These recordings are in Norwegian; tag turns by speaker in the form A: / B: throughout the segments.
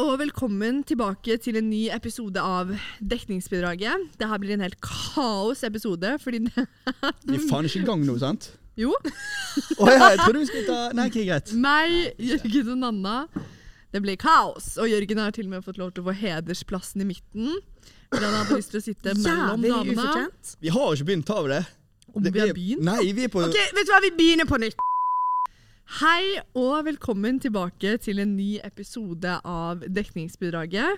A: og velkommen tilbake til en ny episode av Dekningsbidraget. Det her blir en helt kaos-episode, fordi det
B: Vi er faen ikke i gang nå, sant?
A: Jo,
B: Å ja, jeg trodde vi skulle ta Nei, ok, greit.
A: meg, Jørgen og Nanna. Det blir kaos. Og Jørgen har til og med fått lov til å få hedersplassen i midten. Fordi han hadde lyst til å sitte mellom
C: Jævlig
A: damene.
C: ufortjent.
B: Vi har jo ikke begynt, har vi det?
A: Om
B: Det-
A: vi har begynt?
B: Nei, vi er på
C: Ok, vet du hva, vi begynner på nytt.
A: Hei og velkommen tilbake til en ny episode av Dekningsbidraget.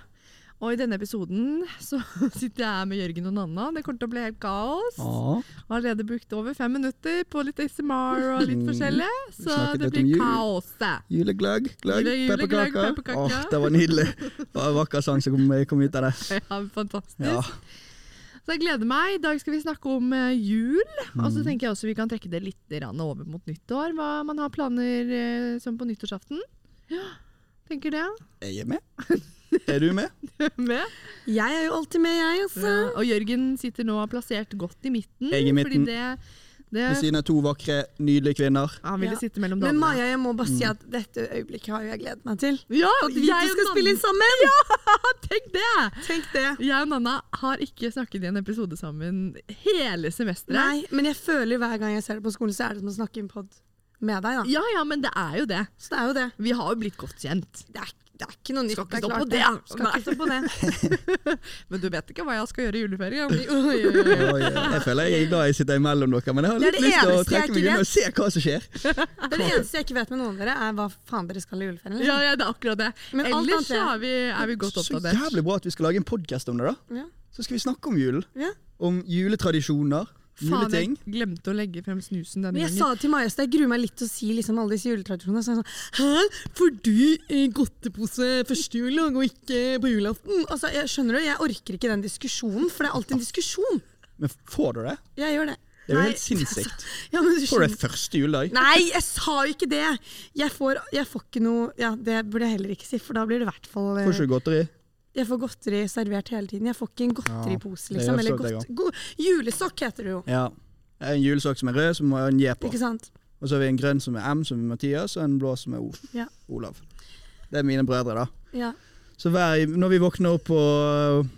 A: Og i denne episoden så sitter jeg her med Jørgen og Nanna. Det kommer til å bli helt kaos.
B: Ja.
A: Og allerede brukt over fem minutter på litt ASMR og litt
B: Mm.
A: forskjellig. Så
B: snakket
A: det
B: litt om
A: blir
B: jul.
A: kaos.
B: Julegløgg, gløgg,
A: Jule- julegløgg,
B: pepperkaker.
A: pepperkaker.
B: Åh, det var nydelig. Det var en vakker sang som kom, kom ut av det.
A: Ja, fantastisk.
B: Ja.
A: Så jeg gleder meg. I dag skal vi snakke om eh, jul. Og
B: Mm.
A: så tenker jeg også vi kan trekke det litt grann over mot nyttår. Hva man har planer eh, som på nyttårsaften. Ja, tenker det.
B: Jeg er med. Er du med?
A: Med.
C: Jeg er jo alltid med, jeg, altså.
A: Ja, og Jørgen sitter nå plassert godt i midten.
B: Jeg i midten.
A: Fordi det, det,
B: Ved siden av to vakre, nydelige kvinner.
A: han ville
C: Ja.
A: sitte mellom
C: Men
A: damene.
C: Maja, jeg må bare si at dette øyeblikket har jeg gledet meg til.
A: ja,
C: At Mm. vi to skal spille inn sammen!
A: sammen! Tenk det!
C: Tenk det.
A: Jeg og Nanna har ikke snakket i en episode sammen hele semesteret.
C: Nei, men jeg føler hver gang jeg ser det på skolen, så er det som å snakke i en pod med deg, da.
A: Ja, ja, men det er jo det.
C: Så det er jo det.
A: Vi har jo blitt godt kjent.
C: Det er, det er ikke noe nytt.
A: Skal ikke
C: det er
A: stå
C: klart
A: på det.
C: Skal ikke stå på det.
A: Men du vet ikke hva jeg skal gjøre i juleferien.
B: Oi, jeg føler jeg er glad jeg sitter imellom dere, men jeg har
C: Det er
B: litt
C: det
B: lyst til å
C: eneste jeg
B: trekke
C: ikke
B: meg unna
C: vet.
B: og se hva som skjer.
C: Det er det eneste jeg ikke vet med noen av dere, er hva faen dere skal i juleferien.
A: ja,
C: Liksom.
A: ja, det er akkurat det.
C: Men alt
A: Ellers
C: annet
A: så
C: er-
A: er vi, er vi godt
B: Så
A: oppdatert.
B: jævlig bra at vi skal lage en podkast om det, da.
C: Ja.
B: Så skal vi snakke om julen.
C: Ja.
B: Om juletradisjoner,
A: Faen, jeg
B: juleting.
A: glemte å legge frem snusen denne
C: Men jeg
A: gangen.
C: sa det til Maja, så jeg gruer meg litt til å si liksom alle disse juletradisjonene. Så jeg sånn, Hæ, får du eh, godtepose første juledag og ikke på julaften? Altså, jeg skjønner du, jeg orker ikke den diskusjonen, for det er alltid en diskusjon.
B: Men får du det?
C: Jeg gjør det.
B: Det er jo
C: Nei, altså,
B: helt sinnssykt.
C: Ja, men
B: Får
C: du
B: du
C: skjønner.
B: det første juledag?
C: Nei, jeg sa jo ikke det! Jeg får, jeg får ikke noe Ja, det burde jeg heller ikke si, for da blir det i hvert fall eh,
B: Får ikke du godteri?
C: Jeg får godteri servert hele tiden. Jeg får ikke en godteripose,
B: det
C: liksom.
B: gjør
C: Eller
B: forstått jeg
C: godt, god, julesokk heter det jo.
B: Ja. En julesokk som er rød, som har en J på.
C: Ikke sant?
B: Og så har vi en grønn som er M, som er Mathias, og en blå som er O.
C: Ja.
B: Olav. Det er mine brødre, da.
C: Ja.
B: Så hver, når vi våkner opp på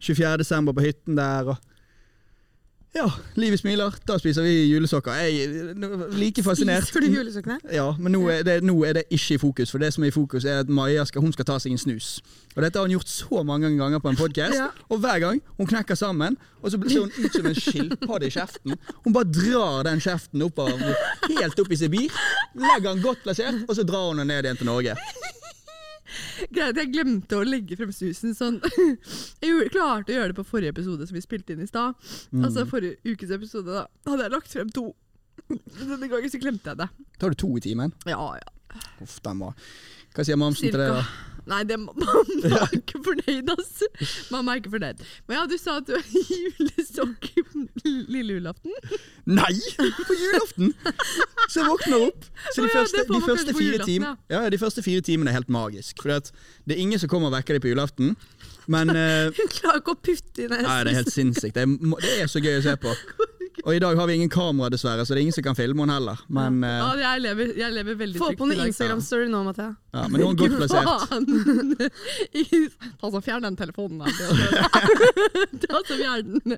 B: 24. desember på hytten der og Ja, livet smiler. Da spiser vi julesokker. Jeg er like fascinert.
C: Spiser du julesokkene?
B: Ja, men nå er, det, nå er det ikke i fokus. For det som er i fokus, er at Maja skal, hun skal ta seg en snus. Og dette har hun gjort så mange ganger på en podkast.
C: Ja.
B: Og hver gang hun knekker sammen, og så ser hun ut som en skilpadde i kjeften. Hun bare drar den kjeften opp av, helt opp i Sibir, legger den godt plassert, og så drar hun den ned igjen til Norge.
A: Greit, jeg glemte å legge frem snusen sånn. Jeg gjorde- klarte å gjøre det på forrige episode som vi spilte inn i stad. Altså forrige ukes episode, da. Hadde jeg lagt frem to. Denne gangen så glemte jeg det.
B: Tar du to i timen?
A: Ja, ja.
B: Uff, den var Hva sier mamsen til det?
A: Cirka.
B: da?
A: Nei, det, mamma er ikke fornøyd, altså. Mamma er ikke fornøyd. Men ja, du sa at du har julesokk på lille julaften.
B: Nei! På julaften! Så jeg våkner opp. Så
A: Å
B: de
A: ja, det
B: første,
A: får
B: de
A: man
B: første,
A: kanskje på
B: fire,
A: julaften,
B: tim ja, de første fire timene er helt magisk. For at det er ingen som kommer og vekker deg på julaften. Men eh,
C: Hun klarer ikke å putte i det.
B: nei, det er helt sinnssykt. Det er, må- det er så gøy å se på. Og i dag har vi ingen kamera, dessverre, så det er ingen som kan filme henne heller. Men, eh,
A: Ja, jeg lever, jeg lever veldig
C: Få
A: trygt
C: på
A: i
C: noe
A: dag.
C: Instagram-story nå, Mathea.
B: ja, men hun er godt plassert.
A: Faen! altså, fjern den telefonen. da. Det er altså fjern den.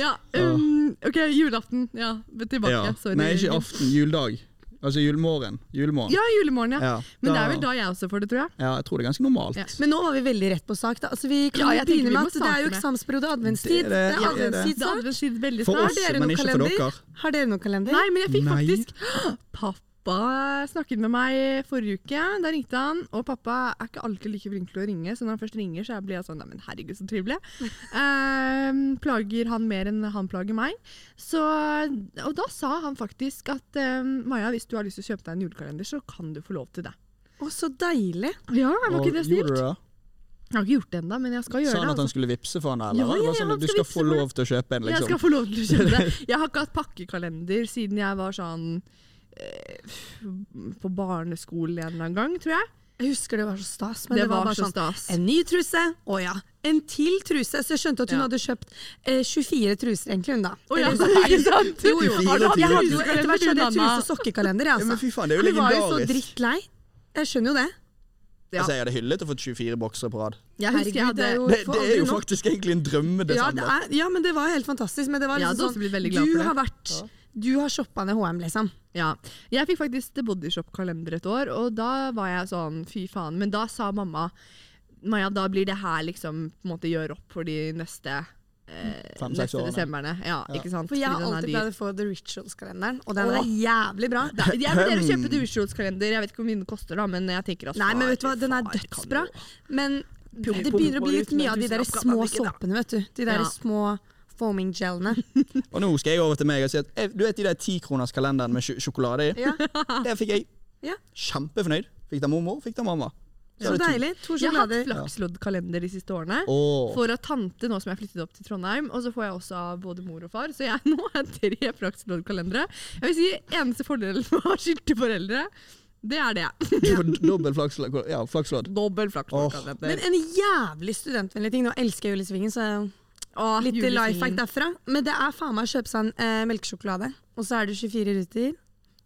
A: Ja, um, OK, julaften. Ja, men tilbake.
B: Ja.
A: Sorry.
B: Nei, ikke aften. Juledag. Altså julemorgen. Julemorgen.
A: Ja, julemorgen, ja.
B: Ja,
A: Men det
B: da-
A: er vel da jeg også får det, tror jeg.
B: Ja, jeg tror det er ganske normalt.
A: Ja.
C: Men nå var vi veldig rett på sak. Da. Altså, vi kan
A: Ja, jeg tenker
C: begynne
A: vi
C: med
A: må
C: at det er
A: starte
C: jo
A: med-
C: eksamensperiode og adventstid.
B: Det er det,
C: Det
B: ja, det
C: er
B: er det.
A: Det
C: adventstid
A: er
C: snart.
A: adventstid veldig
B: For
A: snart.
B: oss,
C: Har dere
B: men
C: noen
B: ikke for
C: kalender?
B: dere.
C: Har dere noen kalender?
A: Nei, men jeg fikk
B: Nei.
A: faktisk Pappa snakket med meg forrige uke. Da ringte han. Og pappa er ikke alltid like flink til å ringe, så når han først ringer, så blir jeg sånn Nei, men herregud, så trivelig. Ehm, plager han mer enn han plager meg. Så, og da sa han faktisk at ehm, Maja, hvis du har lyst til å kjøpe deg en julekalender, så kan du få lov til det.
C: Å, så deilig.
A: Ja, var
B: Og
A: ikke det
B: gjorde du
A: snilt?
B: det?
A: Jeg har ikke gjort det ennå, men jeg skal
B: Sa
A: gjøre
B: han
A: det. altså?
B: at han skulle vippse for henne?
A: Ja,
B: Eller? var det
A: ja,
B: bare
A: ja,
B: sånn
A: han
B: at du
A: skal
B: skal
A: vippse
B: få
A: for
B: lov til å kjøpe en,
A: Jeg
B: liksom?
A: skal få lov til å kjøpe det. Jeg har ikke hatt pakkekalender siden jeg var sånn eh, på barneskolen en eller annen gang, tror jeg.
C: Jeg husker det var så stas. Men det, var, bare
A: så
C: sånn
A: stas.
C: En ny truse. Å ja. En til truse. Så jeg skjønte at hun
A: Ja.
C: hadde kjøpt eh, 24 truser, egentlig, hun da.
A: Å ja,
C: Eller-
A: ikke sant?
C: Jo, jo.
B: Fire
C: Har du hatt- Jeg hadde jo
A: truser.
C: etter hvert skjønt
A: Mamma.
C: truse- og sokkekalender, jeg,
B: Ja, men
C: altså.
B: fy faen, det er jo
C: Hun var jo så
B: legendarisk.
C: drittlei. Jeg skjønner jo det.
A: Ja.
B: Altså, jeg hadde hyllet å fått 24 boksere på rad.
A: Jeg husker jeg
C: Herregud, det
A: hadde
C: er jo-
B: Det,
C: for
B: det
C: aldri
B: er jo
C: nok.
B: faktisk egentlig en
C: Ja, det
B: drømmedesember.
C: er, ja, men det var helt fantastisk. Men det var
A: Jeg hadde
C: liksom
A: også blitt veldig glad
C: sånn,
A: for
C: du
A: det.
C: har vært Du har shoppa ned HM, liksom.
A: Ja. Jeg fikk faktisk The Body Shop-kalender et år, og da var jeg sånn fy faen. Men da sa mamma Maja, da blir det her liksom på en måte gjøre opp for de neste eh,
C: Mm,
B: Fem, seks
A: neste
B: årene.
A: desemberne. Ja, ikke sant?
C: For jeg har
A: Fordi den er
C: alltid
A: dyr.
C: pleid å få The Rituals-kalenderen, og den er
B: Åh.
C: jævlig bra.
A: Da- Jeg vurderer å kjøpe Dursulots-kalender. Jeg vet ikke hvor mye den koster, da, men jeg tenker at
C: Nei, men
A: far,
C: vet du hva, den er
A: far, det kan
C: dødsbra.
A: jo-
C: Men
A: Pum,
C: det
A: pum,
C: begynner å
A: og
C: bli litt
A: ut med
C: mye av de
A: tusen
C: der
A: oppgaver,
C: små
A: ikke da.
C: såpene, vet du. De der
A: Ja.
C: små foaming-gelene.
B: Og nå skal jeg over til meg og si at eh, du vet de der tikronerskalenderen med sj sjokolade i?
C: Ja.
B: Det fikk jeg.
C: Ja.
B: Kjempefornøyd. Fikk det av mormor, fikk det av mamma. Så
C: Så
B: er det to.
C: deilig.
A: Jeg har
C: To
A: hatt
C: sjokolader.
A: flaksloddkalender de siste årene.
B: Åh.
A: For av tante, nå som jeg flyttet opp til Trondheim, og så får jeg også av både mor og far. Så jeg nå har jeg tre flaksloddkalendere. Jeg vil si eneste fordelen med å ha skilte foreldre, det er det.
B: Du får dobbel flakslodd. Ja, flakslodd.
A: Dobbel
C: Men
A: flaksloddkalender.
C: en jævlig studentvennlig ting. Nå elsker jeg Julesvingen, så
A: Åh,
C: litt
A: julesvingen.
C: life hack derfra. Men det er faen meg å kjøpe seg en eh, melkesjokolade, og så er det 24 ruter.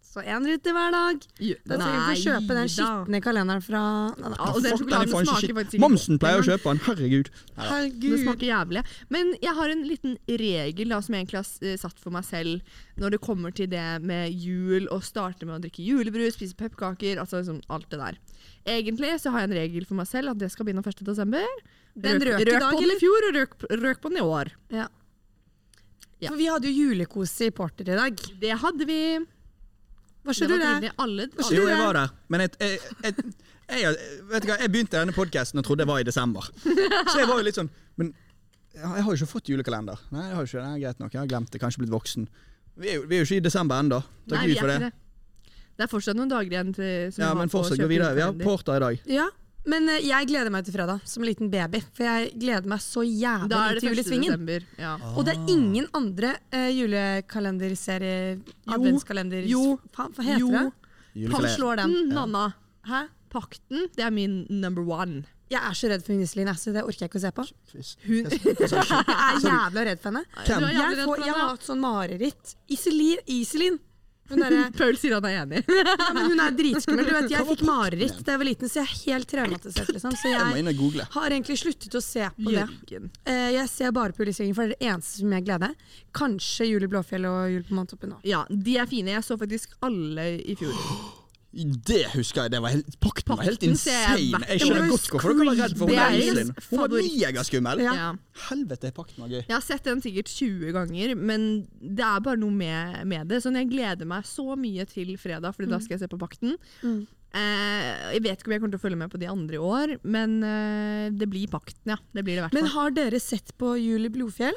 C: Så én rute hver dag.
A: Ju-
C: Da trenger du ikke å kjøpe
A: da.
C: den skitne kalenderen fra Nei, nei.
A: Ja, og den
B: Fuck, den er
A: sjokoladen
B: faen ikke
A: smaker
B: shit.
A: faktisk ikke
B: Mamsen
A: godt
B: pleier å
A: engang.
B: kjøpe den. Herregud.
A: Det
C: Herregud.
A: smaker jævlig. Men jeg har en liten regel da, som jeg egentlig har s- eh, satt for meg selv når det kommer til det med jul, og starte med å drikke julebrus, spise pepperkaker, altså liksom alt det der. Egentlig så har jeg en regel for meg selv at det skal begynne 1. desember.
C: Den røk i
A: røk
C: dag,
A: på den
C: eller?
A: i fjor, og røk, røk på den i år.
C: Ja.
A: Ja.
C: For vi hadde jo julekos i Porter i dag.
A: Det hadde vi.
C: Hva
A: Det
C: skjønner
A: var
C: du det?
A: trivelig. Alle, alle.
B: Jo, jeg var der. Men jeg, jeg, jeg, jeg, vet du hva, jeg begynte denne podkasten og trodde det var i desember. Så jeg var jo litt sånn Men ja, jeg har jo ikke fått julekalender. Nei, jeg har jo ikke, nei, greit nok. Jeg har glemt det. Kanskje blitt voksen. Vi er jo, vi er jo ikke i desember ennå. Takk
A: Nei, vi
B: Gud
A: er
B: for
A: ikke
B: det.
A: Det er fortsatt noen dager igjen til som
B: Ja,
A: vi har
B: men
A: på å
B: fortsatt
A: kjøpe
B: gå videre. Vi har
A: julekalender.
B: Porter i dag.
C: Ja, men eh, jeg gleder meg til fredag som liten baby. For jeg gleder meg så jævlig
A: Da er det
C: til
A: 1.
C: julesvingen.
A: desember. Ja.
C: Og det er ingen andre eh, julekalenderserie Adventskalender
A: jo,
C: Faen, Hva heter
A: jo.
C: det? Han
B: Julekalender.
C: slår den.
A: Mm, Nanna.
C: Hæ?
A: Pakten, det er min number one.
C: Jeg er så redd for hun Iselin, altså, det orker jeg ikke å se på.
B: Quiz.
A: Hun,
C: Jeg er jævla redd for henne.
A: Du er
B: Hvem?
A: jævlig
C: Jeg,
A: redd for
C: får, jeg
A: henne,
C: har
A: ja.
C: hatt sånn mareritt. Iselin! Iselin. Hun, er,
A: Paul sier han er enig.
C: ja, men hun er dritskummel. Du vet, jeg fikk mareritt da jeg var liten, så jeg er helt traumatisert. Liksom. Så
B: Jeg må
C: jeg
B: inn og google.
C: har egentlig sluttet å se på det.
A: Jørgen.
C: Eh, jeg ser bare på Julesvingen, for det er det eneste som jeg gleder. Kanskje Jul i Blåfjell og Jul på Manntoppen òg.
A: Ja, de er fine. Jeg så faktisk alle i fjor.
B: Det husker jeg. Det var helt, pakten var helt
A: Pakten ser jeg
B: insane.
A: hvert
B: Jeg
A: år.
B: skjønner godt hvorfor dere var redd for
A: Det
B: hun
A: er
B: der
A: hennes
B: Iselin. Hun var
A: favoritt.
B: megaskummel.
C: Ja.
A: Ja.
B: Helvete, pakten var gøy.
A: Jeg har sett den sikkert 20 ganger, men det er bare noe med, med det. Sånn, jeg gleder meg så mye til fredag, for
C: Mm.
A: da skal jeg se på Pakten. Eh, jeg vet ikke om jeg kommer til å følge med på de andre i år, men eh, det blir Pakten, ja. Det blir det i hvert
C: Men
A: fall.
C: har dere sett på Jul i Blåfjell?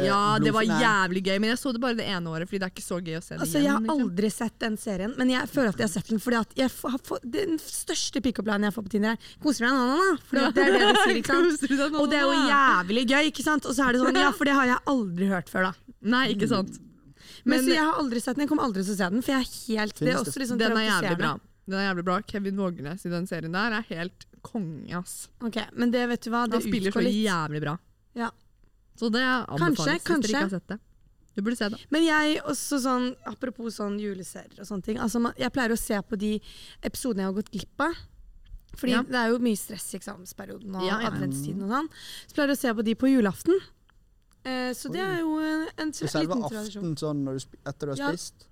A: Ja, det var
B: Blodfnær.
A: jævlig gøy, men jeg så det bare det ene året, fordi det er ikke så gøy å se det
C: Altså,
A: igjen.
C: jeg har
A: liksom.
C: aldri sett den serien, men jeg føler at jeg har sett den fordi at jeg f- har fått den største pick-up-linen jeg får på Tinder, er 'koser du deg nå, nå'? For det er det de sier, ikke sant?
A: Koser du deg nå,
C: Og det er jo
A: nå, da?
C: jævlig gøy, ikke sant? Og så er det sånn, ja, for det har jeg aldri hørt før, da.
A: Nei, ikke sant.
C: Mm. Men,
A: Men-
C: så jeg har aldri sett den, jeg kommer aldri til å se den, for jeg er helt Det er
B: Finnes det-
C: også liksom
A: Den er jævlig bra.
C: traumatiserende.
A: Den er jævlig bra. Kevin Vågenes i den serien der er helt konge, ass.
C: Ok, men det vet du hva, det
A: Han spiller så
C: utgår litt.
A: jævlig bra.
C: Ja.
A: Så det anbefales
C: Kanskje,
A: hvis dere
C: kanskje.
A: ikke har sett det. Du burde se det.
C: Men jeg også sånn, apropos sånn juleserier og sånne ting, altså man, jeg pleier å se på de episodene jeg har gått glipp av. Fordi
A: Ja.
C: det er jo mye stress i eksamensperioden og
A: Ja, ja.
C: adventstiden og sånn. Så pleier jeg å se på de på julaften. Eh, så det
B: Oi.
C: er jo en, en, tra-
B: Så selve
C: liten tradisjon.
B: aften sånn når du, sp- etter du har
C: Ja.
B: spist?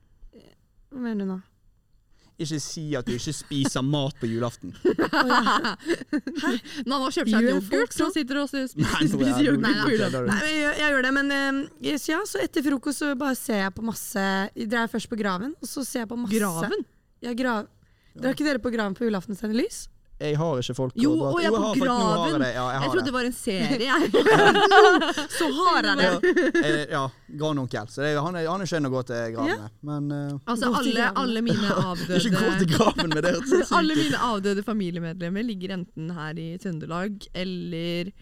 C: Hva mener du nå?
B: Ikke si at du ikke spiser mat på julaften.
A: Nanna kjøper seg en
C: Gjør folk
A: yoghurt
C: sånn?
A: og sitter og spiser,
B: Nei, nå er
A: spiser
B: du-
A: yoghurt.
B: Nei,
A: på
B: da.
A: julaften.
C: Nei, men jeg, gjør- jeg gjør det, men eh, så ja, så etter frokost så bare ser jeg på masse Drar jeg først på graven, og så ser jeg på masse
A: Graven?
C: Ja, grav. Drar ikke dere på graven på julaften og tenner lys?
B: Jeg har ikke folk
A: Jo,
B: å
A: og
B: dra til.
A: jeg er
B: Jo,
A: på
B: har folk- nå har jeg
A: graven.
B: det. Ja, jeg
A: Jeg
B: har
A: trodde det
B: det.
A: var en serie. jeg.
C: Så har jeg det!
B: Ja, eh, ja, grandonkel. Så det, er- han, er, han er skjønn å gå til graven med. Men eh,
A: Altså,
C: Gå til
A: alle,
C: graven.
A: alle mine
B: ikke gå til
A: avdøde
B: graven med det! høres så
A: Alle
B: sykt ut.
A: mine avdøde familiemedlemmer ligger enten her i Trøndelag eller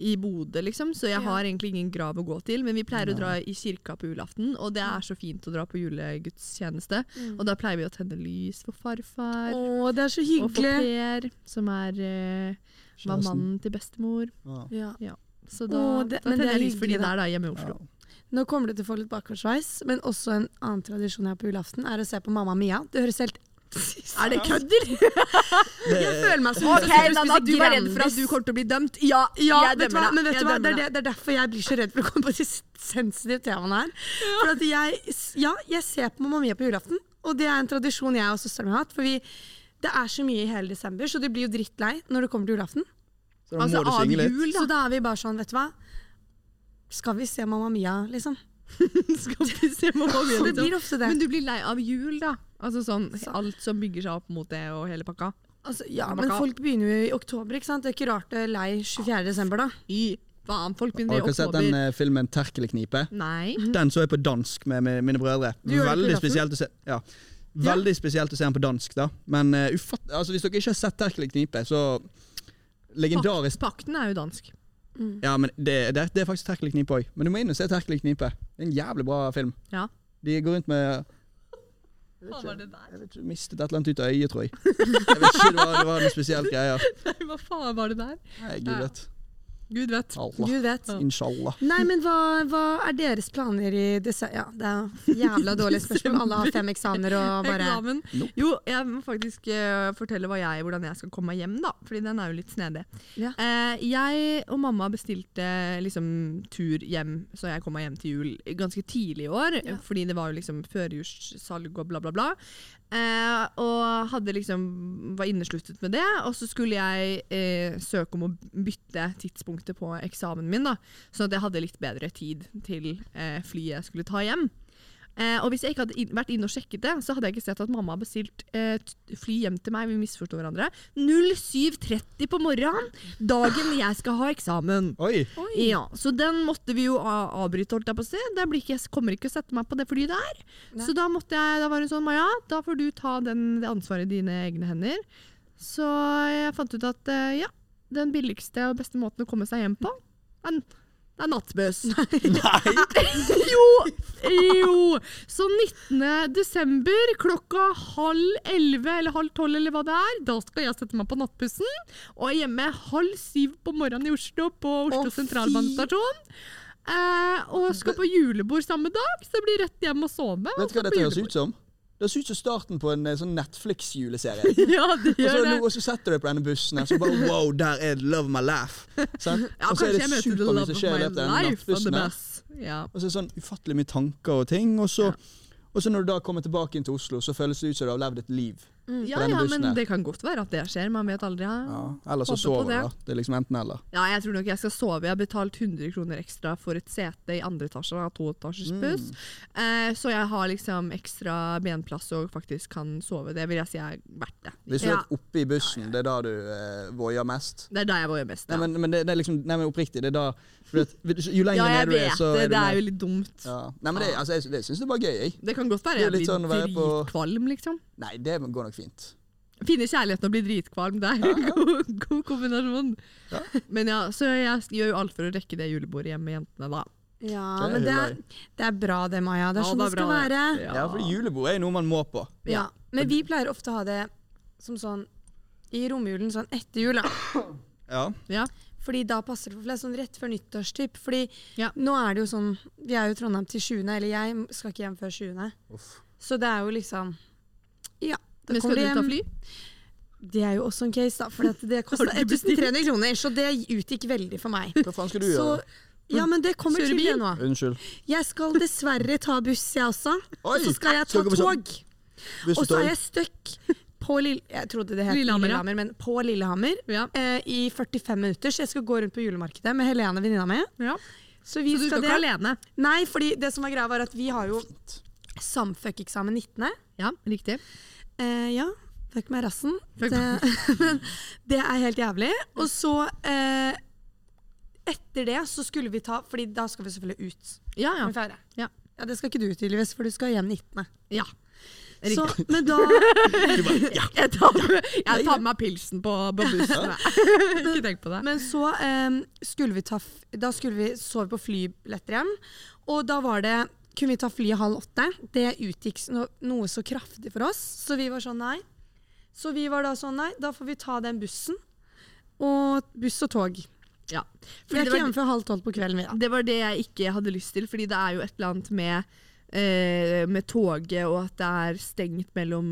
A: i Bodø, liksom, så jeg
C: Ja.
A: har egentlig ingen grav å gå til. Men vi pleier å dra i kirka på julaften, og det er så fint å dra på julegudstjeneste.
C: Mm.
A: Og da pleier vi å tenne lys for farfar.
C: Å, det er så
A: Og for
C: hyggelig.
A: Per, som er eh, var
B: Kjæresten.
A: mannen til bestemor.
B: Ja.
C: Ja.
A: Så da,
C: Å, det-
A: da
C: men det
A: tenner
C: er
A: jeg lys for de
C: hyggelig, da.
A: der da, hjemme i Oslo.
C: Nå kommer du til å få litt bakgårdsveis, men også en annen tradisjon jeg har på julaften, er å se på Mamma Mia. Det høres helt
A: Er det kødder?
C: Jeg føler meg som
A: Ok,
C: hvis
A: Nanna,
C: jeg
A: du var redd for at
C: Grandis.
A: du kommer til å bli dømt. Ja,
C: ja,
A: jeg
C: vet du
A: dømmer
C: hva,
A: deg.
C: men vet
A: Jeg
C: du hva? Det,
A: dømmer
C: er det, det er derfor jeg blir så redd for å komme på de sensitive temaene her. For at jeg, ja, jeg ser på Mamma Mia på julaften, og det er en tradisjon jeg og søsteren min har hatt. For vi, det er så mye i hele desember, så de blir jo drittlei når det kommer til julaften.
B: Så da
A: Altså,
B: må du
A: av
B: synge litt.
A: jul,
C: Så da er vi bare sånn, vet du hva. Skal vi se Mamma Mia, liksom?
A: da. Skal vi se hva vi
C: Så
A: gjør,
C: det
A: liksom.
C: blir ofte det.
A: Men du blir lei av jul, da? Altså sånn, Alt som bygger seg opp mot det og hele pakka?
C: Altså, ja,
A: Man
C: men
A: kan-
C: folk begynner jo i oktober, ikke sant? Det er ikke rart det er lei 24. desember, da.
A: I faen, folk begynner i
B: Har dere sett den
A: oktober.
B: eh, filmen 'Terkelknipe'?
A: Nei.
B: Den så jeg på dansk med, med mine brødre.
C: Du gjør det på
B: Veldig
C: julaften?
B: spesielt å se ja. Veldig spesielt å se den på dansk, da. Men eh, ufatt, altså, hvis dere ikke har sett 'Terkelknipe', så Legendarisk.
A: Pakten er jo dansk.
B: Ja, men det, det, det er faktisk 'Terkelknipe' òg. Men du må inn og se 'Terkelknipe'. Det er en jævlig bra film.
A: Ja.
B: De går rundt med
A: Hva var det der?
B: Jeg vet ikke, mistet et eller annet ut av øyet, tror jeg. jeg vet ikke, det var, det var noe spesielt greier.
A: Nei, hva faen var det der?
B: Nei, gud vet.
A: Gud vet.
B: Allah.
C: Gud vet.
B: Inshallah.
C: Nei, men hva, hva er deres planer i desember? Ja, det er jævla dårlige spørsmål. Alle har fem eksamener og bare
A: Eksamen.
B: Nope.
A: Jo, jeg må faktisk eh, fortelle hva jeg, hvordan jeg skal komme meg hjem, da. Fordi den er jo litt snedig.
C: Ja.
A: Eh, jeg og mamma bestilte liksom tur hjem, så jeg kom meg hjem til jul ganske tidlig i år.
C: Ja.
A: Fordi det var jo liksom førjulssalg og bla, bla, bla. Eh, og hadde liksom var innesluttet med det. Og så skulle jeg eh, søke om å bytte tidspunktet på eksamen min, da. Sånn at jeg hadde litt bedre tid til eh, flyet jeg skulle ta hjem. Eh, og hvis jeg ikke hadde inn- vært inne og sjekket det, så hadde jeg ikke sett at mamma har bestilt eh, t- fly hjem til meg. Vi misforstår hverandre. 07.30 på morgenen, dagen jeg skal ha eksamen.
B: Oi!
A: Ja, Så den måtte vi jo a- avbryte, holdt jeg på å si. Det blir ikke, jeg kommer ikke å sette meg på det flyet der.
C: Nei.
A: Så da måtte jeg, da var det sånn, Maja, da får du ta den, det ansvaret i dine egne hender. Så jeg fant ut at eh, ja, den billigste og beste måten å komme seg hjem på, er, det er nattbuss.
B: Nei!
A: Jo, jo. Så 19. desember klokka halv elleve eller halv tolv eller hva det er, da skal jeg sette meg på nattbussen. Og er hjemme halv syv på morgenen i Oslo på Oslo
C: Å, fy.
A: sentralbanestasjon. Eh, og skal på julebord samme dag, så det blir rett hjem og sove.
B: Vet du hva dette høres ut som? Det høres ut som starten på en eh, sånn Netflix-juleserie.
A: Ja, det
B: Og så,
A: gjør det.
B: og så setter du deg på denne bussen, og så bare wow, der er love my life. Sant?
A: Ja,
B: og
A: kanskje
B: så altså, er det
A: jeg møter the
B: supermye
A: love
B: som
A: of
B: skjer i
A: my
B: løpet av
A: life
B: den
A: on the
B: nattbussen. her.
A: bus. Ja.
B: Og så er det sånn ufattelig mye tanker og ting. Og så, og så når du da kommer tilbake inn til Oslo, så føles det ut som du har levd et
A: Ja,
B: liv. denne
A: ja,
B: Mm. bussen her.
A: men det kan godt være at det skjer. Man vet aldri. Ja.
B: Ja, eller
A: Håper Ah.
B: så
A: på
B: sover du,
A: det.
B: da. Det er liksom enten eller.
A: Ja, jeg tror nok jeg skal sove. Jeg har betalt 100 kroner ekstra for et sete i andre etasje av toetasjers
B: Mm.
A: buss. Eh, så jeg har liksom ekstra benplass og faktisk kan sove. Det vil jeg si er verdt det.
B: Hvis du
A: ja.
B: er oppe i bussen, det er da du eh, voier mest.
A: Det er da jeg var mest.
B: Nei,
A: Ja,
B: men, men det, det er liksom Nei, men oppriktig, det er da for at, Jo lenger
A: ja jeg
B: ned du er,
A: vet
B: så
A: det.
B: er du
A: Det er
B: mer
A: jo litt Ah. dumt.
B: ja. Nei, men det, altså, jeg, det syns jeg var gøy, jeg.
A: Det kan godt være
B: Det er
A: jeg
B: litt
A: blir
B: sånn å være på-
A: dritkvalm, liksom.
B: Nei, det går nok fint.
A: Finne kjærligheten og bli dritkvalm, det er jo en god, god kombinasjon.
B: Ja.
A: Men ja, Så jeg gjør jo alt for å rekke det julebordet hjemme med jentene, da.
C: Ja,
B: Det er
C: men det er,
B: hyggelig.
C: det er bra det, Maja. Det er
A: Ja,
C: sånn
A: det
C: det,
A: er
C: skal
A: bra, det.
C: være.
B: Ja, for julebord er jo noe man må på.
C: Ja. Men vi pleier ofte å ha det som sånn i romjulen, sånn etter jul, da.
B: Ja.
A: Ja.
C: Fordi da passer det for flest, sånn rett før nyttårstyp. Fordi
A: Ja.
C: nå er det jo sånn, vi er jo i Trondheim til 20., eller jeg skal ikke hjem før 20.
B: Uff.
C: Så det er jo liksom, ja. da
A: Men
C: kommer
A: skal du
C: det
A: ta
C: hjem.
A: fly?
C: Det er jo også en case, da. For at det kosta
A: Har du bestilt?
C: 1300 kroner, så det utgikk veldig for meg.
B: Hva faen skal du
C: Så,
B: gjøre?
C: ja, men det kommer
A: Kjøre
C: til det
A: bil?
C: nå.
B: Unnskyld.
C: Jeg skal dessverre ta buss, jeg også.
B: Oi,
C: og så skal jeg ta
B: skal dere på samme-
C: tog.
B: Hvis
C: Og
B: du
C: så
B: tar
C: er jeg stuck på Lill... Jeg trodde det het
A: Lillehammer, ja.
C: Lillehammer, men på Lillehammer
A: Ja.
C: eh, i 45 minutter. Så jeg skal gå rundt på julemarkedet med Helene, venninna mi.
A: ja.
C: Så vi
A: Så du skal
C: skal det.
A: ikke alene?
C: Nei, fordi det som var greia var at vi har jo samfuck-eksamen 19.
A: Ja, riktig.
C: Eh, ja, fuck meg i rassen.
A: Fuck
C: Det, men det er helt jævlig. Og så eh, etter det så skulle vi ta Fordi da skal vi selvfølgelig ut.
A: Ja, ja.
C: Med feire.
A: Ja.
C: ja, Det skal ikke du tydeligvis, for du skal hjem 19.
A: Ja.
C: Så,
A: Riktig.
C: men da
A: Jeg tar, jeg tar med meg pilsen på, på bussen. Ikke tenk på det.
C: Men så eh, skulle vi ta f- Da skulle vi sove på flybilletter igjen. Og da var det Kunne vi ta flyet halv åtte? Det utgikk s- no, noe så kraftig for oss, så vi var sånn nei. Så vi var da sånn nei, da får vi ta den bussen. Og buss og tog.
A: Ja.
C: Vi
A: Fordi
C: er
A: det,
C: ikke hjemme
A: var,
C: før halv tolv på kvelden. vi da.
A: det var det jeg ikke hadde lyst til, fordi det er jo et eller annet med eh, med toget, og at det er stengt mellom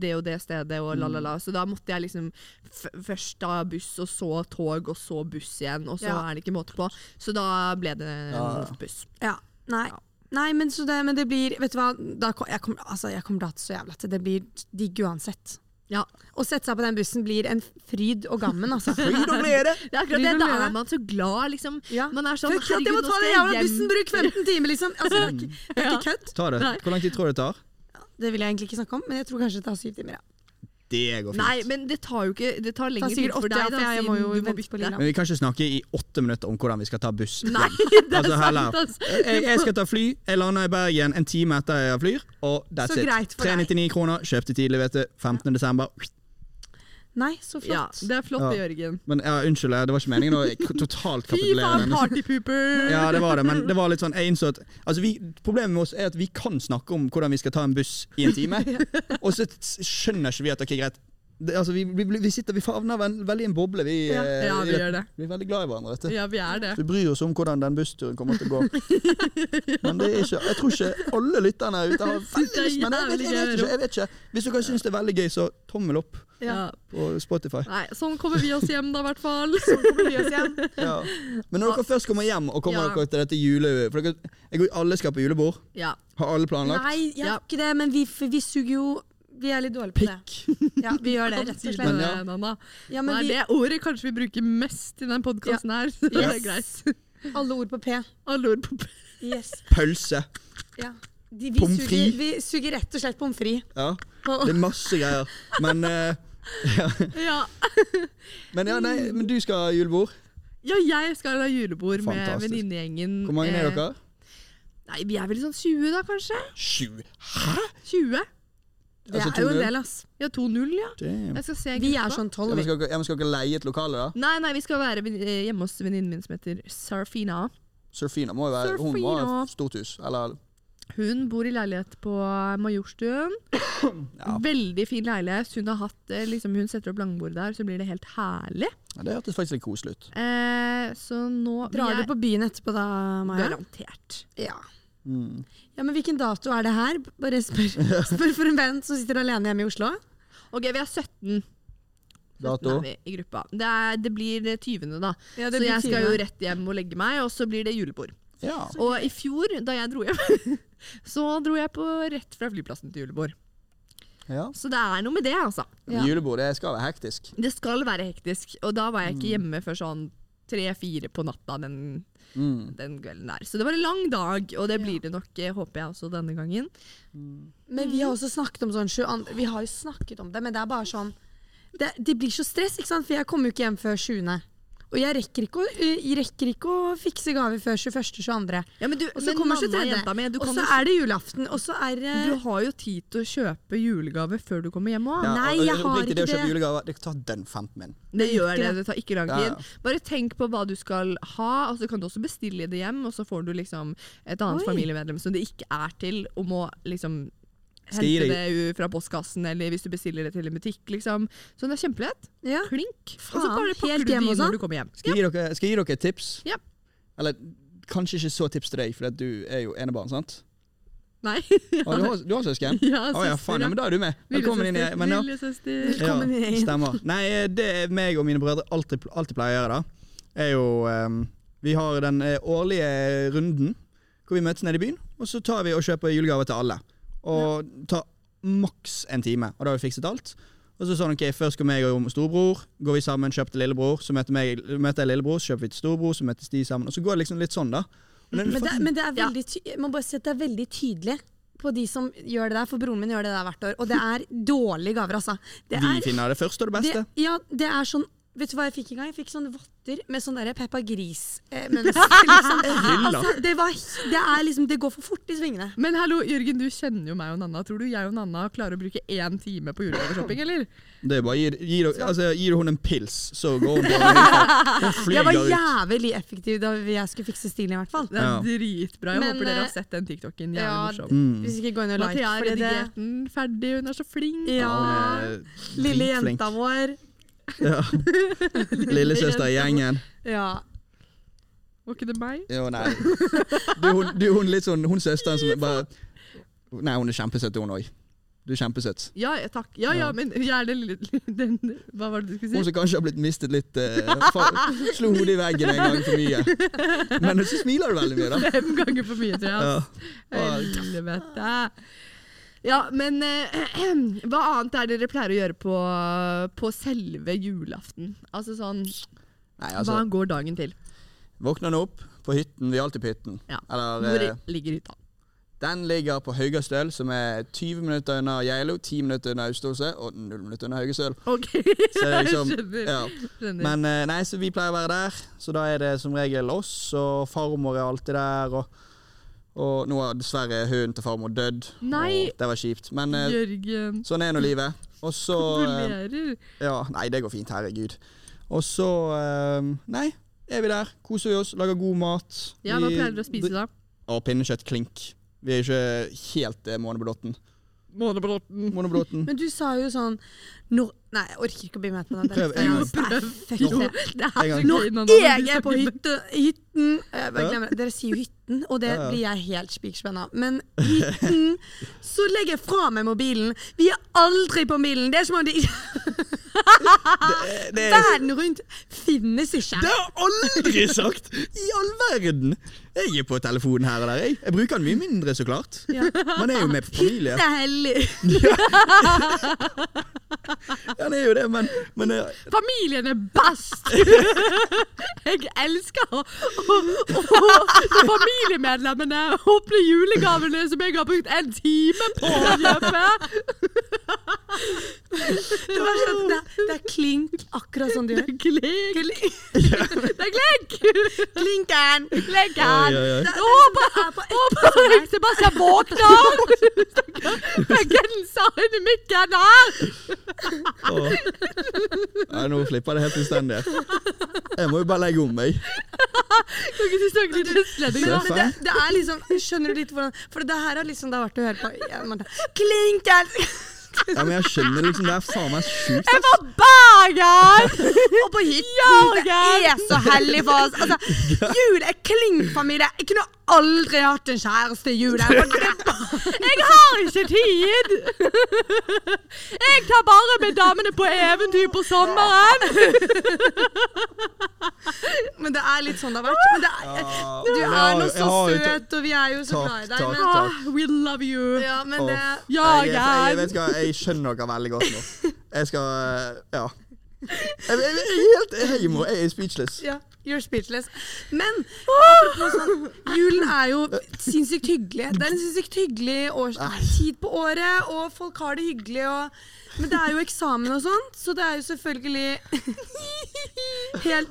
A: det og det stedet, og la, la,
C: Mm.
A: la. Så da måtte jeg liksom f først da buss, og så tog, og så buss igjen, og så
C: Ja.
A: er det ikke måte på. Så da ble det
B: Ja, ja.
A: en buss.
C: Ja, nei. Nei, men, så det, men det blir Vet du hva, da, kom- jeg kommer altså, jeg kommer til å hate så jævla til. Det blir digg uansett.
A: Ja.
C: Å sette seg på den bussen blir en fryd og gammen, altså.
B: Fryd og glede!
A: Det er akkurat det,
C: Driver
A: da
C: med det.
A: er man så glad, liksom.
C: Ja.
A: Man er sånn
C: Fuck at jeg må
A: Herregud, nå
C: ta
A: skal
C: den
A: jeg
C: jævla
A: hjem.
C: bussen, bruk 15 timer, liksom! Altså, det er ikke, det er ikke kødd.
B: Ta det. Hvor lang tid tror du det tar?
C: Det vil jeg egentlig ikke snakke om, men jeg tror kanskje det tar syv timer. Ja.
B: Det går fint.
A: Nei, men det tar jo ikke Det tar lengre tid
C: sikkert
A: for deg,
C: åtte, ja,
A: da,
C: for jeg
A: siden
C: må jo
A: du må
C: vente på
A: bytte.
C: Lina.
B: Men vi kan ikke snakke i åtte minutter om hvordan vi skal ta buss.
A: Nei, det er
B: Altså, heller.
A: sant, altså.
B: Jeg, jeg skal ta fly. Jeg lander i Bergen en time etter jeg flyr, og that's
C: Så
B: it.
C: greit for deg.
B: 399 kroner. Kjøpte tidlig, vet du. 15. desember.
C: Nei, så
A: Ja,
C: flott.
A: det er flott, det,
B: Ja.
A: Jørgen.
B: Men ja, unnskyld, det var ikke meningen å k- totalt
A: Fy
B: kapitulere.
A: faen,
B: men-
A: partypooper!
B: Ja, det var det, men det var litt sånn, jeg innså at altså vi, Problemet med oss er at vi kan snakke om hvordan vi skal ta en buss i en time, og så s- skjønner ikke vi at ok, greit det, altså, vi, vi, vi sitter, vi favner vel- veldig i en boble. Vi,
C: Ja.
B: eh,
A: Ja, vi gjør det.
B: vi er veldig glad i hverandre. Vet du.
A: Ja, vi er det.
B: Vi bryr oss om hvordan den bussturen kommer til å gå. Men det er ikke, jeg tror ikke alle lytterne her ute har
A: Det
B: veldig
A: er
B: lyst, men jeg vet, jeg, vet ikke, jeg vet ikke. Hvis dere syns det er veldig gøy, så tommel opp
A: Ja.
B: på Spotify.
A: Nei, sånn kommer vi oss hjem, da, i hvert fall.
C: Sånn
B: Ja. Men når dere først kommer hjem, og kommer
A: Ja.
B: dere til dette jule... For dere, jeg går, alle skal på julebord.
A: Ja.
B: Har alle planlagt?
C: Nei, jeg
A: Ja.
C: har ikke det, men vi, for vi suger jo Vi er litt dårlige på det. Ja, vi gjør det, rett og slett.
B: Men ja.
C: Ja,
A: Det
C: men
A: er
C: vi,
A: det året kanskje vi bruker mest i den podkasten her. Så det er greit.
C: alle ord på P.
A: Alle ord på
C: Yes.
B: Pølse.
C: Ja. De, vi,
B: Pommes
C: suger,
B: frites.
C: vi suger rett og slett pommes frites.
B: Ja. Det er masse greier. Men, eh,
A: ja.
B: men ja, nei, men du skal ha julebord.
A: ja, jeg skal ha julebord med
B: Fantastisk.
A: venninnegjengen.
B: Hvor mange er
A: eh,
B: dere?
A: Nei, Vi er vel sånn 20, da, kanskje?
B: Sju.
A: 20?
C: Det
B: Altså,
C: er jo
B: 2-0.
C: en del, ass.
A: Ja, 2-0, ja.
B: Damn.
A: Jeg skal se
C: Vi
A: gruppa.
C: er sånn
B: Ja,
C: tolv,
B: men
C: vi.
B: skal dere ja, men skal dere leie et lokale, da?
A: sånn- Nei, nei, vi skal være ven- eh, hjemme hos venninnen min som heter Sarfina.
B: Surfina må jo være Hun må ha
A: Surfina.
B: stort hus. Eller
A: Hun bor i leilighet på Majorstuen.
B: Ja.
A: Veldig fin leilighet. Hun, har hatt, eh, liksom, hun setter opp langbord der, så blir det helt herlig.
B: Ja, Det hørtes faktisk litt koselig ut.
A: Eh, så nå
C: Drar du på byen etterpå da, Maja?
A: Garantert.
C: Ja.
B: Mm.
C: ja, men hvilken dato er det her? Bare spør, spør for en venn som sitter alene hjemme i Oslo.
A: Ok, vi er 17. 17
B: Dato?
A: er vi i gruppa. Det, er, det blir det 20., da.
C: Ja,
A: så jeg skal jo rett hjem og legge meg, og så blir det julebord.
B: Ja.
A: Og i fjor, da jeg dro hjem, så dro jeg på rett fra flyplassen til julebord.
B: ja.
A: Så det er noe med det, altså.
B: Men Julebord det skal være hektisk.
A: Det skal være hektisk, og da var jeg ikke hjemme før sånn tre-fire på natta den,
B: Mm.
A: den kvelden der. Så det var en lang dag, og det blir det nok, eh, håper jeg også denne gangen.
C: Men vi har også snakket om sånn 22. Vi har jo snakket om det, men det er bare sånn Det, det blir så stress, ikke sant? For jeg kommer jo ikke hjem før 20. Og jeg rekker ikke å, jeg rekker ikke å fikse gaver før 21.-22.
A: Ja, men du,
C: Og så kommer 23.
A: jenta mi, du,
C: Og
A: kan
C: så
A: jo,
C: er det julaften, og så er det
A: du har jo tid til å kjøpe julegave før du kommer hjem òg.
B: Ja,
C: Nei,
B: og- og
C: jeg har
B: oppriktig, Det å
C: ikke
B: kjøpe
C: det.
B: julegaver, det tar den 15 min.
A: Det gjør
C: ikke
A: det,
C: det.
A: det tar ikke lang
B: Ja,
A: tid.
B: ja.
A: Bare tenk på hva du skal ha, og så kan du også bestille det hjem, og så får du liksom et annet
C: Oi.
A: familiemedlem som det ikke er til, og må liksom
B: Skal gi
A: hente
B: deg-
A: det u- fra postkassen, eller hvis du bestiller det til en butikk, liksom. Så det er kjempelett.
C: ja.
A: Klink.
C: Faen,
A: og så bare pakker du
C: helt
A: det
C: hjemme
A: inn
C: hos han.
A: når du kommer hjem.
B: Skal jeg gi dere, skal jeg gi dere et tips?
A: Ja.
B: Eller kanskje ikke så tips til deg, for at du er jo enebarn, sant?
A: Nei.
B: Å, du, har, du har søsken?
A: Ja,
B: Å ja, faen, ja,
A: ja.
B: men da er du med. Velkommen inn i men ja.
A: Lillesøster.
C: Velkommen inn i
B: ja,
C: gjengen.
B: stemmer. Nei, eh, det er meg og mine brødre alltid, pl- alltid pleier å gjøre, da, er jo ehm, Vi har den eh, årlige runden hvor vi møtes nede i byen, og så tar vi og kjøper julegaver til alle. Og tar maks en time, og da har vi fikset alt. Og så sånn, ok, Først går jeg og storebror, går vi sammen, kjøper til lillebror. Så møter, meg, møter jeg lillebror, så kjøper vi til storebror, så møtes de sammen. Og så går det liksom litt sånn, da. Men den
C: Men det,
B: fucking-
C: men det er
A: Ja.
C: veldig ty man bare sier at det er veldig tydelig på de som gjør det der, for broren min gjør det der hvert år. Og det er dårlige gaver, altså. Det
B: vi
C: er,
B: finner det første og det
C: det,
B: beste.
C: ja, det er sånn Vet du hva jeg fikk en gang? Jeg fikk sånne votter med sånn derre Peppa Gris-mønster. Liksom.
B: Hylla.
C: Altså, det, var, det, er liksom, det går for fort i svingene.
A: Men hallo, Jørgen, du kjenner jo meg og Nanna. Tror du jeg og Nanna klarer å bruke én time på julegaveshopping, eller?
B: Det er bare, gir, gir, altså, gir du henne en pils, så går hun bare Hun
C: Jeg
B: flyger
C: var
B: ut.
C: jævlig effektiv da jeg skulle fikse stilen, i hvert fall.
A: Det er
B: Ja.
A: dritbra. Jeg
C: Men,
A: håper dere
C: eh,
A: har sett den TikToken. Jævlig
C: ja,
A: morsom.
B: Mm.
C: Hvis ikke gå inn og like.
A: Mathea har
C: fordi det,
A: redigert den ferdig, hun er så flink.
C: ja,
B: eh,
C: lille jenta vår.
B: Lillesøstergjengen.
C: Ja.
A: Var ikke det meg?
B: Jo, nei. Du, hun, du, hun litt sånn Hun søsteren som bare Nei, hun er kjempesøt, hun òg. Du er kjempesøt.
A: Ja, ja, takk. Ja, ja,
B: Ja.
A: men jeg er den lille den, Hva var det du
B: Hun
A: skulle si?
B: som kanskje har blitt mistet litt eh, fa- Slo hodet i veggen en gang for mye. Men så smiler du veldig mye, da.
A: Fem ganger for mye, tror jeg.
B: Ja.
A: Helvete. Ja, men eh, hva annet er det dere pleier å gjøre på, på selve julaften? Altså sånn
B: Nei, altså,
A: Hva går dagen til?
B: våkner han opp på hytten. Vi er alltid på hytten.
A: Ja.
B: Eller,
A: Hvor
B: eh,
A: ligger hytta?
B: den ligger på Haugastøl, som er 20 minutter unna Geilo, 10 minutter unna Austehuset og 0 minutter unna Haugastøl.
A: Ok,
B: Så
A: jeg
B: liksom,
A: skjønner.
B: ja.
A: skjønner.
B: Men eh, nei, så vi pleier å være der, så da er det som regel oss, og farmor er alltid der. Og, og nå har dessverre hunden til farmor dødd,
A: Nei.
B: og det var kjipt. Men eh,
A: Jørgen
B: sånn er nå livet. Og så eh,
A: gratulerer.
B: Ja, nei, det går fint, herregud. Og så eh, Nei, er vi der, koser vi oss, lager god mat.
A: Ja, hva pleier dere å spise da?
B: Og pinnekjøttklink. Vi er ikke helt eh, måneblotten.
A: Månebrotten.
B: Måneblotten.
C: Men du sa jo sånn når, Nei, jeg orker ikke å bli med på den.
B: Prøv en gang.
C: Nei, fuck
A: Jo,
C: det.
A: det er
B: gang.
A: så
C: Når
A: gøy nå, når
C: jeg
A: du
C: er på
A: snakker-
C: hytte, hytten jeg bare
B: Ja.
C: glemmer det. Dere sier jo hytten, og det
B: Ja, ja.
C: blir jeg helt spikspenna av. Men hytten Så legger jeg fra meg mobilen. Vi er aldri på mobilen! Det er som om det,
B: Det, det er
C: verden rundt finnes ikke.
B: Det har jeg aldri sagt! I all verden! Jeg er på telefonen her og der. Jeg, jeg bruker den mye mindre, så klart. Man er jo med på familie.
C: Det er hellig.
B: Ja, det er jo det, men, men eh,
A: Familien er best! Jeg elsker å, å, å, når familiemedlemmene åpner julegavene som jeg har brukt en time på å kjøpe.
C: Det, var sånn, det, det er klink, akkurat sånn du gjør.
A: Klikk!
C: Klink,
A: Det er klikk!
C: klinken!
A: Klikken!
B: Oi, oi, oi.
A: Å, ba- å, ba- Sånn Sebastian våkner! Med genseren i mikken her!
B: å. Nei, Nå flipper det helt fullstendig. Jeg må jo bare legge om meg.
A: Kan ikke du snakke litt østlending, da?
C: Ja,
B: Seff.
C: men det, det er liksom, Skjønner du litt hvordan For det her har liksom det har vært å høre på. Ja, man- Klinken!
B: Ja, men jeg skjønner liksom, Det er faen meg sjukt.
C: Jeg
B: ass.
C: var bager! Og på hytten! Det
A: Jørgen!
C: er så hellig for oss. Altså, jul er klinkfamilie. Jeg kunne aldri hatt en kjæreste i jul. Jeg bare-
A: Jeg har ikke tid! Jeg tar bare med damene på eventyr på sommeren.
C: Men det er litt sånn det har vært. Men det
B: Ja.
C: er, du
B: Jeg
C: er
B: har-
C: nå
B: jeg har
C: så
B: jo ta-
C: søt, og vi er jo
B: Takk,
C: så glad i deg.
B: takk,
C: Men,
B: takk.
A: Ah, we love you.
C: ja, men det
B: Åh,
A: Ja,
B: jeg, jeg, jeg, vet
A: Jan.
B: ikke hva, jeg skjønner dere veldig godt nå. Jeg skal eh, Ja. Jeg, jeg, jeg, er helt, jeg, må, jeg er speechless.
C: Ja, you're speechless. Men apropos sånn, julen er jo sinnssykt hyggelig. Det er en sinnssykt hyggelig års tid på året, og folk har det hyggelig. Og, men det er jo eksamen og sånt, så det er jo selvfølgelig helt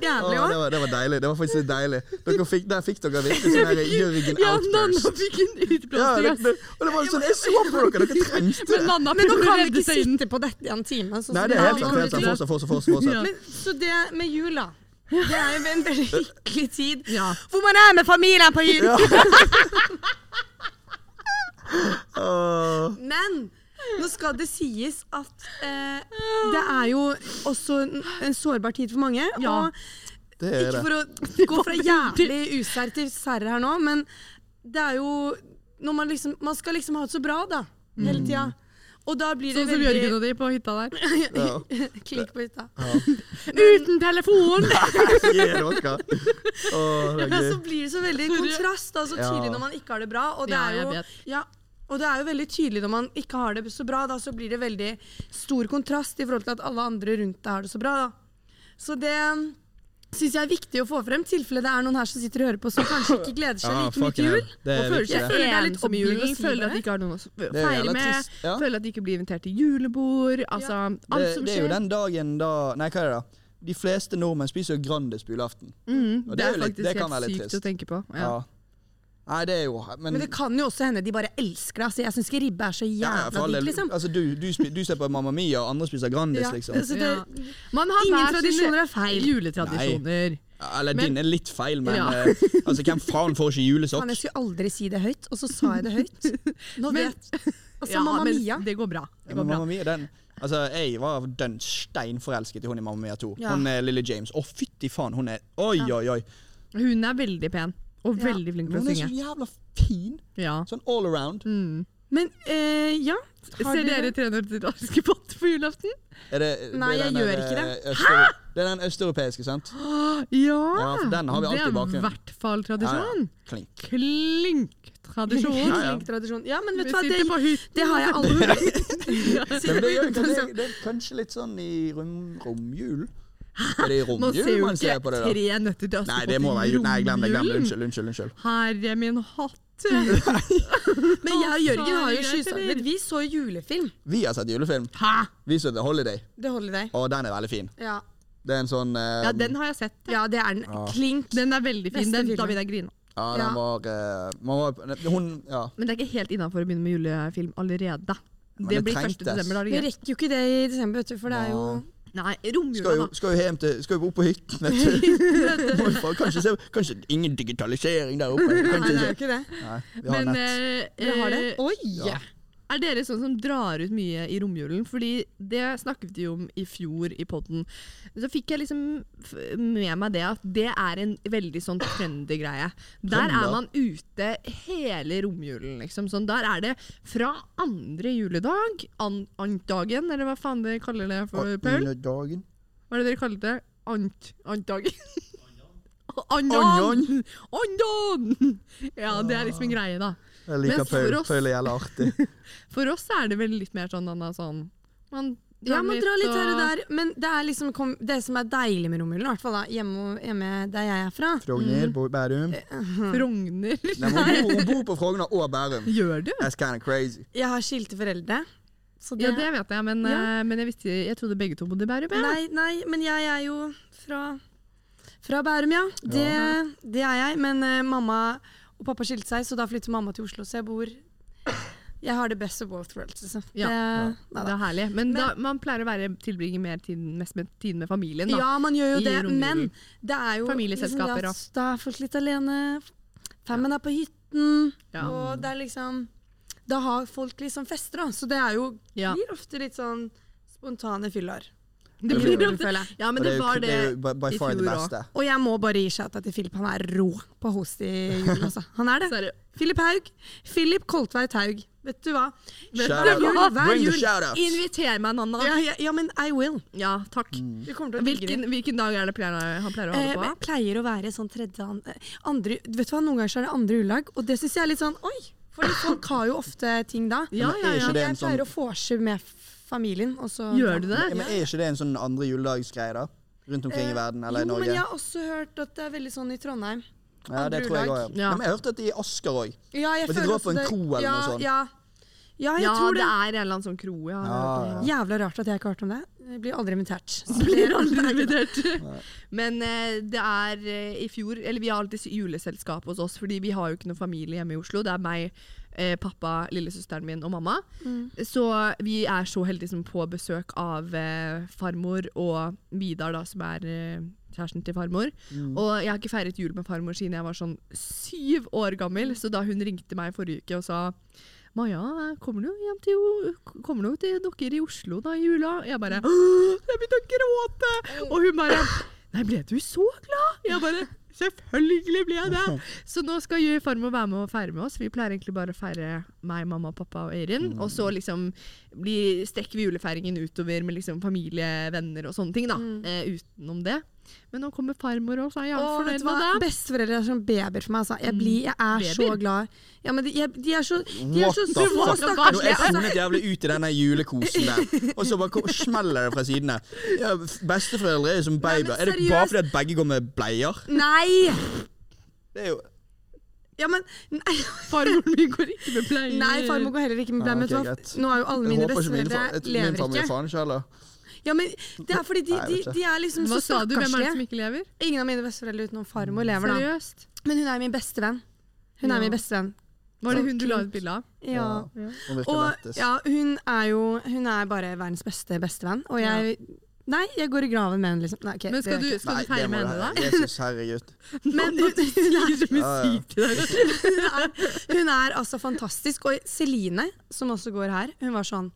B: Åh,
C: jævlig
B: det,
C: òg.
B: var, det var deilig. Det var faktisk litt deilig. Dere fikk, der fikk dere virkelig sånn her Jørgen
A: Ja, Nanna
B: outburst.
A: fikk en
B: Ja,
A: utblåsning.
B: det,
A: ass.
B: det, og det var sånn, Jeg så på dere, dere trengte
A: Men
B: det.
A: Nanna
C: Men nå
A: prøvde å
C: kan vi
A: redde
C: ikke
A: seg inn.
C: sitte på dette i en time. sånn
B: Nei,
C: som
B: det
C: vi
B: er
C: har
B: helt sant.
C: gjort
B: helt sant.
C: tidligere.
B: Fortsett, fortsett, fortsett. fortsett.
A: Ja.
C: Men, så det med jula Det er jo en veldig hyggelig tid.
A: Ja.
C: Hvor man er med familien på jul.
B: Åh.
C: Men nå skal det sies at eh, det er jo også en, en sårbar tid for mange.
A: Ja.
C: Og
B: det er det.
C: ikke for å gå fra jævlig usær til serre her nå, men det er jo når man, liksom, man skal liksom ha det så bra, da. Hele tida. Og da blir det
A: Mm. Sånn som Jørgen og de på hytta der.
B: Ja.
C: Klikk på hytta.
A: Uten telefon!
B: Gi dere. Åh, det
C: Ja,
B: er
C: så
B: gøy.
C: blir det så veldig kontrast, da, så
B: Ja.
C: tydelig når man ikke har det bra. Og det
A: Ja,
C: er
A: jeg
C: jo,
A: vet.
C: ja, og det er jo veldig tydelig når man ikke har det så bra, da, så blir det veldig stor kontrast i forhold til at alle andre rundt deg har det så bra. Da. Så det syns jeg er viktig å få frem, i tilfelle det er noen her som sitter og hører på som kanskje ikke gleder seg
B: Ja,
C: like mye
B: fucking
C: til
B: hell.
C: jul.
B: Det
A: Og
B: er
A: føler,
B: viktig,
A: jeg
B: det.
A: føler
C: det.
A: det er litt
C: Det er litt
A: oppbyggelig.
C: oppbyggelig å si
A: Føler
C: det.
A: at de ikke har noen å s-
B: Eh, Det er
A: feire
B: jævla
A: med.
B: trist, ja.
A: Føler at de ikke blir invitert til julebord. Altså, alt
B: Det,
A: som
B: det
A: skjer.
B: er jo den dagen da Nei, hva er det da? De fleste nordmenn spiser jo Grandis på julaften.
A: Mm, Det
B: Og det er
A: er
B: jo litt-
A: faktisk
B: det kan være
A: helt
B: litt
A: sykt å
B: trist.
A: tenke på.
B: Ja.
A: Ja.
B: Nei, det er jo Men,
C: Men det kan jo også hende de bare elsker deg. Så jeg syns ikke ribbe er så
B: ja, ja, for
C: jævla
B: all del.
C: digg, liksom.
B: altså, du, du, spi- du ser på Mamma Mia, og andre spiser Grandis,
C: Ja,
B: liksom.
C: så det,
A: Ja. Man har
C: Ingen
A: hver
C: tradisjoner
A: sine
C: er feil.
A: juletradisjoner.
B: Ja, Eller
A: Men-
B: din er litt feil, men
A: Ja.
B: eh, altså, hvem faen får ikke
C: Faen,
B: julesokk?
C: jeg skulle aldri si det høyt, og så sa jeg det høyt. Nå
A: Men-
C: vet Altså, Mamma
A: men
C: Mia.
A: Det går bra.
B: Ja,
A: Det
B: men
A: går bra.
B: Mamma Mia, den Altså, jeg var dønn steinforelsket i hun i Mamma Mia 2.
C: Ja.
B: Hun er Lille James. Å, fytti faen, hun er Oi, oi, oi.
A: Hun er veldig pen, og
C: Ja.
A: veldig flink til
B: Hun
A: å
B: er så
A: synge.
B: jævla fin.
A: Ja.
B: Sånn all around.
A: Mm.
C: Men eh, ja. Har
A: Ser
C: du-
A: dere 300 til Askepott på julaften?
B: Er det,
C: Nei,
B: det er
C: jeg
B: den
C: gjør
B: der,
C: ikke
B: eh, østeu- Det er den østeuropeiske, sant?
A: Ja!
B: Ja, for den har vi alltid i
A: Det er i
B: bakgrunnen.
A: hvert fall tradisjon.
B: Klink.
A: Klink-tradisjon.
B: Ja, ja.
C: Flink tradisjon. Ja, men
A: Vi
C: vet du hva,
A: sitter
C: det,
A: på hytta.
C: det har jeg
B: Nei,
C: aldri
B: men det, er
A: Sitter
B: jo-
A: på
B: det,
A: hytta.
B: det er kanskje litt sånn i rom, romjulen? Er det i
A: Man ser
B: romjulen
A: jo
B: man ser
A: ikke
B: på det, da?
A: tre nøtter til Askepott
B: Nei, det må
A: i
B: være jul. Nei, glem det. glem det.
A: romjulen.
B: Unnskyld. unnskyld, unnskyld.
A: Herre min hatt.
C: Men jeg og Jørgen har jo
A: Greit,
C: kyssa.
A: eller?
C: Men vi så julefilm.
B: Vi har sett julefilm.
A: Hæ?
B: Vi så The Holiday,
C: Det holder i deg.
B: og den er veldig fin.
C: Ja.
B: Det er en sånn eh,
A: Ja, den har jeg sett.
C: ja, det er den.
B: Ja.
C: Klink.
A: Den er veldig fin.
C: Neste
A: Den, da
C: film.
A: begynner jeg å grine.
B: ja, den
C: ja.
B: var, eh, man var Hun Ja.
A: Men det er ikke helt innafor å begynne med julefilm allerede.
B: Men
A: Det
B: det
A: blir 1.
B: trengtes.
A: desember. da er
C: Vi
A: det greit.
C: rekker jo ikke det i desember, vet du, for det er jo
A: Nei,
B: Skal
A: romjula,
B: jo,
A: da.
B: skal jo hjem til Skal jo opp på hytten, vet du. Må jo faen- kanskje, se, kanskje ingen digitalisering der oppe.
C: Nei, det
B: Kanskje
C: er jo
B: ikke.
C: ikke det.
B: Nei, vi har
A: Men
B: nett.
A: eh,
C: Dere har det?
A: eh,
C: Oi!
B: Ja.
A: er dere sånn som drar ut mye i romjulen? Fordi det snakket vi om i fjor i podden. Så fikk jeg liksom f- med meg det at det er en veldig sånn trøndergreie. Der
B: Trønder?
A: er man ute hele romjulen, liksom. Sånn, der er det fra andre juledag, an antdagen, eller hva faen dere kaller det for, Paul?
B: Under dagen.
A: Hva er det dere kaller det? Ant... Antdagen?
B: Andan.
A: Andan! Andan! Ja, det er liksom en greie, da.
B: Jeg
A: Men
B: liker
A: for
B: Paul.
A: oss-
B: Paul er jævla artig.
A: For oss er det vel litt mer sånn Anna, sånn Man
C: Ja, man drar litt her og
A: og-
C: der, men det er liksom kom, det som er deilig med romjulen, i hvert fall da, hjemme, hjemme der jeg er fra
B: Frogner bor i Bærum.
A: Eh, Frogner.
B: Nei, men hun, bor, hun bor på Frogner og Bærum.
A: Gjør du?
B: That's kind of crazy.
C: Jeg har skilte foreldre. Så det,
A: Ja, det vet jeg, men,
C: Ja.
A: eh, men jeg, visste, jeg trodde begge to bodde i Bærum. jeg.
C: Nei, nei, men jeg er jo fra, fra Bærum, ja. Det, det er jeg. Men eh, mamma og pappa skilte seg, så da flyttet mamma til Oslo. Så jeg bor Jeg har det best of both worlds. Altså.
A: Ja.
C: Det, nei
A: Det
C: da.
A: er herlig. Men,
C: Men-
A: da, man pleier å være tilbringe mer tid, mest med tiden med familien, da.
C: ja, man gjør jo
A: I
C: det,
A: romjulen.
C: men det er jo
A: Familieselskaper
C: liksom,
A: og-
C: da, da er folk litt alene. Femmen er på hytten,
A: Ja.
C: og det er liksom Da har folk liksom fester, da. Så det er jo
A: Ja.
C: blir ofte litt sånn spontane fyller.
A: Det
B: blir
A: blir
C: Julen, føler jeg.
A: Ja, men
B: Og
A: det
B: er jo-
A: var
B: er jo
A: det.
B: by, by
A: i
B: far det
A: fjor
B: beste.
C: Og jeg må bare gi shout-out til Philip. Han er rå på host i julen, altså. Han er det.
A: Sorry.
C: Philip Haug. Philip Koltveit Haug. Vet du hva?
A: Vet
B: Shout
A: du
B: out.
A: hva?
B: Bring the
A: jul.
B: shout out.
A: Inviter meg, Nanna.
C: Ja, ja, ja men I will.
A: Ja, takk.
B: Mm.
C: Du kommer til å digge det.
A: Hvilken, hvilken dag er det pleier, han pleier å ha
C: Eh,
A: det på?
C: men pleier å være sånn tredje an- eh, andre, Vet du hva, Noen ganger så er det andre ulag, og det syns jeg er litt sånn oi! For folk har jo ofte ting da.
A: Ja,
B: Men
A: ja,
B: er
A: ja.
B: ikke det en
C: Jeg pleier
B: sånn,
C: å vorse med familien. Og så
A: Gjør du det?
B: Ja, men er ikke det en sånn andre juledagsgreie, da? Rundt omkring i verden, eller i
C: Eh, jo,
B: Norge?
C: men jeg har også hørt at det er veldig sånn i Trondheim.
B: Ja, det
C: andre
B: tror jeg òg.
C: juledag.
B: Ja.
A: Ja.
B: Ja, men jeg hørte at de i Asker òg.
C: Ja, jeg
B: Men de
C: føler
B: drar
C: også
B: på en
C: det-
B: kro eller
C: ja,
B: noe sånt.
C: Ja, ja jeg
A: ja,
C: tror
A: det
C: det.
A: er en eller annen sånn kro. Ja,
B: Ja,
C: Jævla rart at jeg ikke har hørt om det. Jeg blir aldri invitert. Så det-
A: Blir aldri invitert. Men eh, det er eh, i fjor Eller vi har alltid juleselskap hos oss, fordi vi har jo ikke noen familie hjemme i Oslo. Det er meg, eh, pappa, lillesøsteren min og mamma. Så vi er så heldige som på besøk av eh, farmor og Vidar, da, som er eh, kjæresten til farmor. Og jeg har ikke feiret jul med farmor siden jeg var sånn syv år gammel, så da hun ringte meg forrige uke og sa Maja, kommer du hjem til, jo- kommer du til dere i Oslo da i jula? Jeg bare «Åh, Jeg begynte å gråte! Og hun bare Nei, ble du så glad? Jeg bare Selvfølgelig ble jeg det! Så nå skal jo farmor være med og feire med oss. Vi pleier egentlig bare å feire meg, mamma, pappa og Eirin. Og så liksom blir, strekker vi julefeiringen utover med liksom familie, venner og sånne ting. da, eh, Utenom det. Men nå kommer farmor òg, så er jeg
C: Åh,
A: jævlig
C: vet
A: fornøyd
C: du
A: med
C: hva?
A: det.
C: Besteforeldre er som babyer for meg. Altså. Jeg, blir, jeg er så
A: Mm. Babyer?
C: glad. Ja, men de, jeg, de er så, de er
B: What
C: så
B: the fuck? Nå
C: små Altså, og
B: er
C: stakkarslige.
B: jeg funnet jævlig ut i denne julekosen der, og så bare kom, smeller det fra sidene. Ja, besteforeldre er jo som
C: men
B: babyer. Er det bare
C: seriøst.
B: fordi at begge går med bleier?
C: Nei!
B: Det er jo
C: Ja, men, nei,
A: Farmoren min går ikke med pleier.
C: nei, farmor går heller ikke med
B: Ja, ok,
C: blæ. Vet du hva?
B: greit.
C: Nå er jo alle
B: Jeg
C: mine
B: håper ikke min, fa
C: besteforeldre
B: jeg- min
C: lever
B: familie
C: ikke.
B: faen ikke heller.
C: Ja, men det er fordi de,
B: Nei, jeg
C: de,
B: vet ikke.
C: de er liksom
A: Hva
C: så
A: sa du? Hvem er det som
C: stakkarslige.
A: ikke lever?
C: Ingen av mine besteforeldre utenom farmor lever, da.
A: Seriøst?
C: Men hun er min beste venn. Hun
A: Ja.
C: er min beste venn.
A: Var det
C: Så
A: hun du la
C: klunk.
A: ut bilde av?
C: Ja.
B: Ja, Hun virker
C: Og
B: lættis.
C: ja, hun er jo Hun er bare verdens beste bestevenn. Og jeg Nei, jeg går i graven med henne, liksom. Nei, ok,
A: Men skal du,
C: det gjør jeg
A: skal
B: Nei,
A: du feire
B: det må
A: med
B: du
A: henne,
B: ha. Jesus, herregud.
A: da? Men du sier så mye
B: Ja, ja.
A: sykt til deg.
C: ikke. hun er altså fantastisk. Og Celine, som også går her, hun var sånn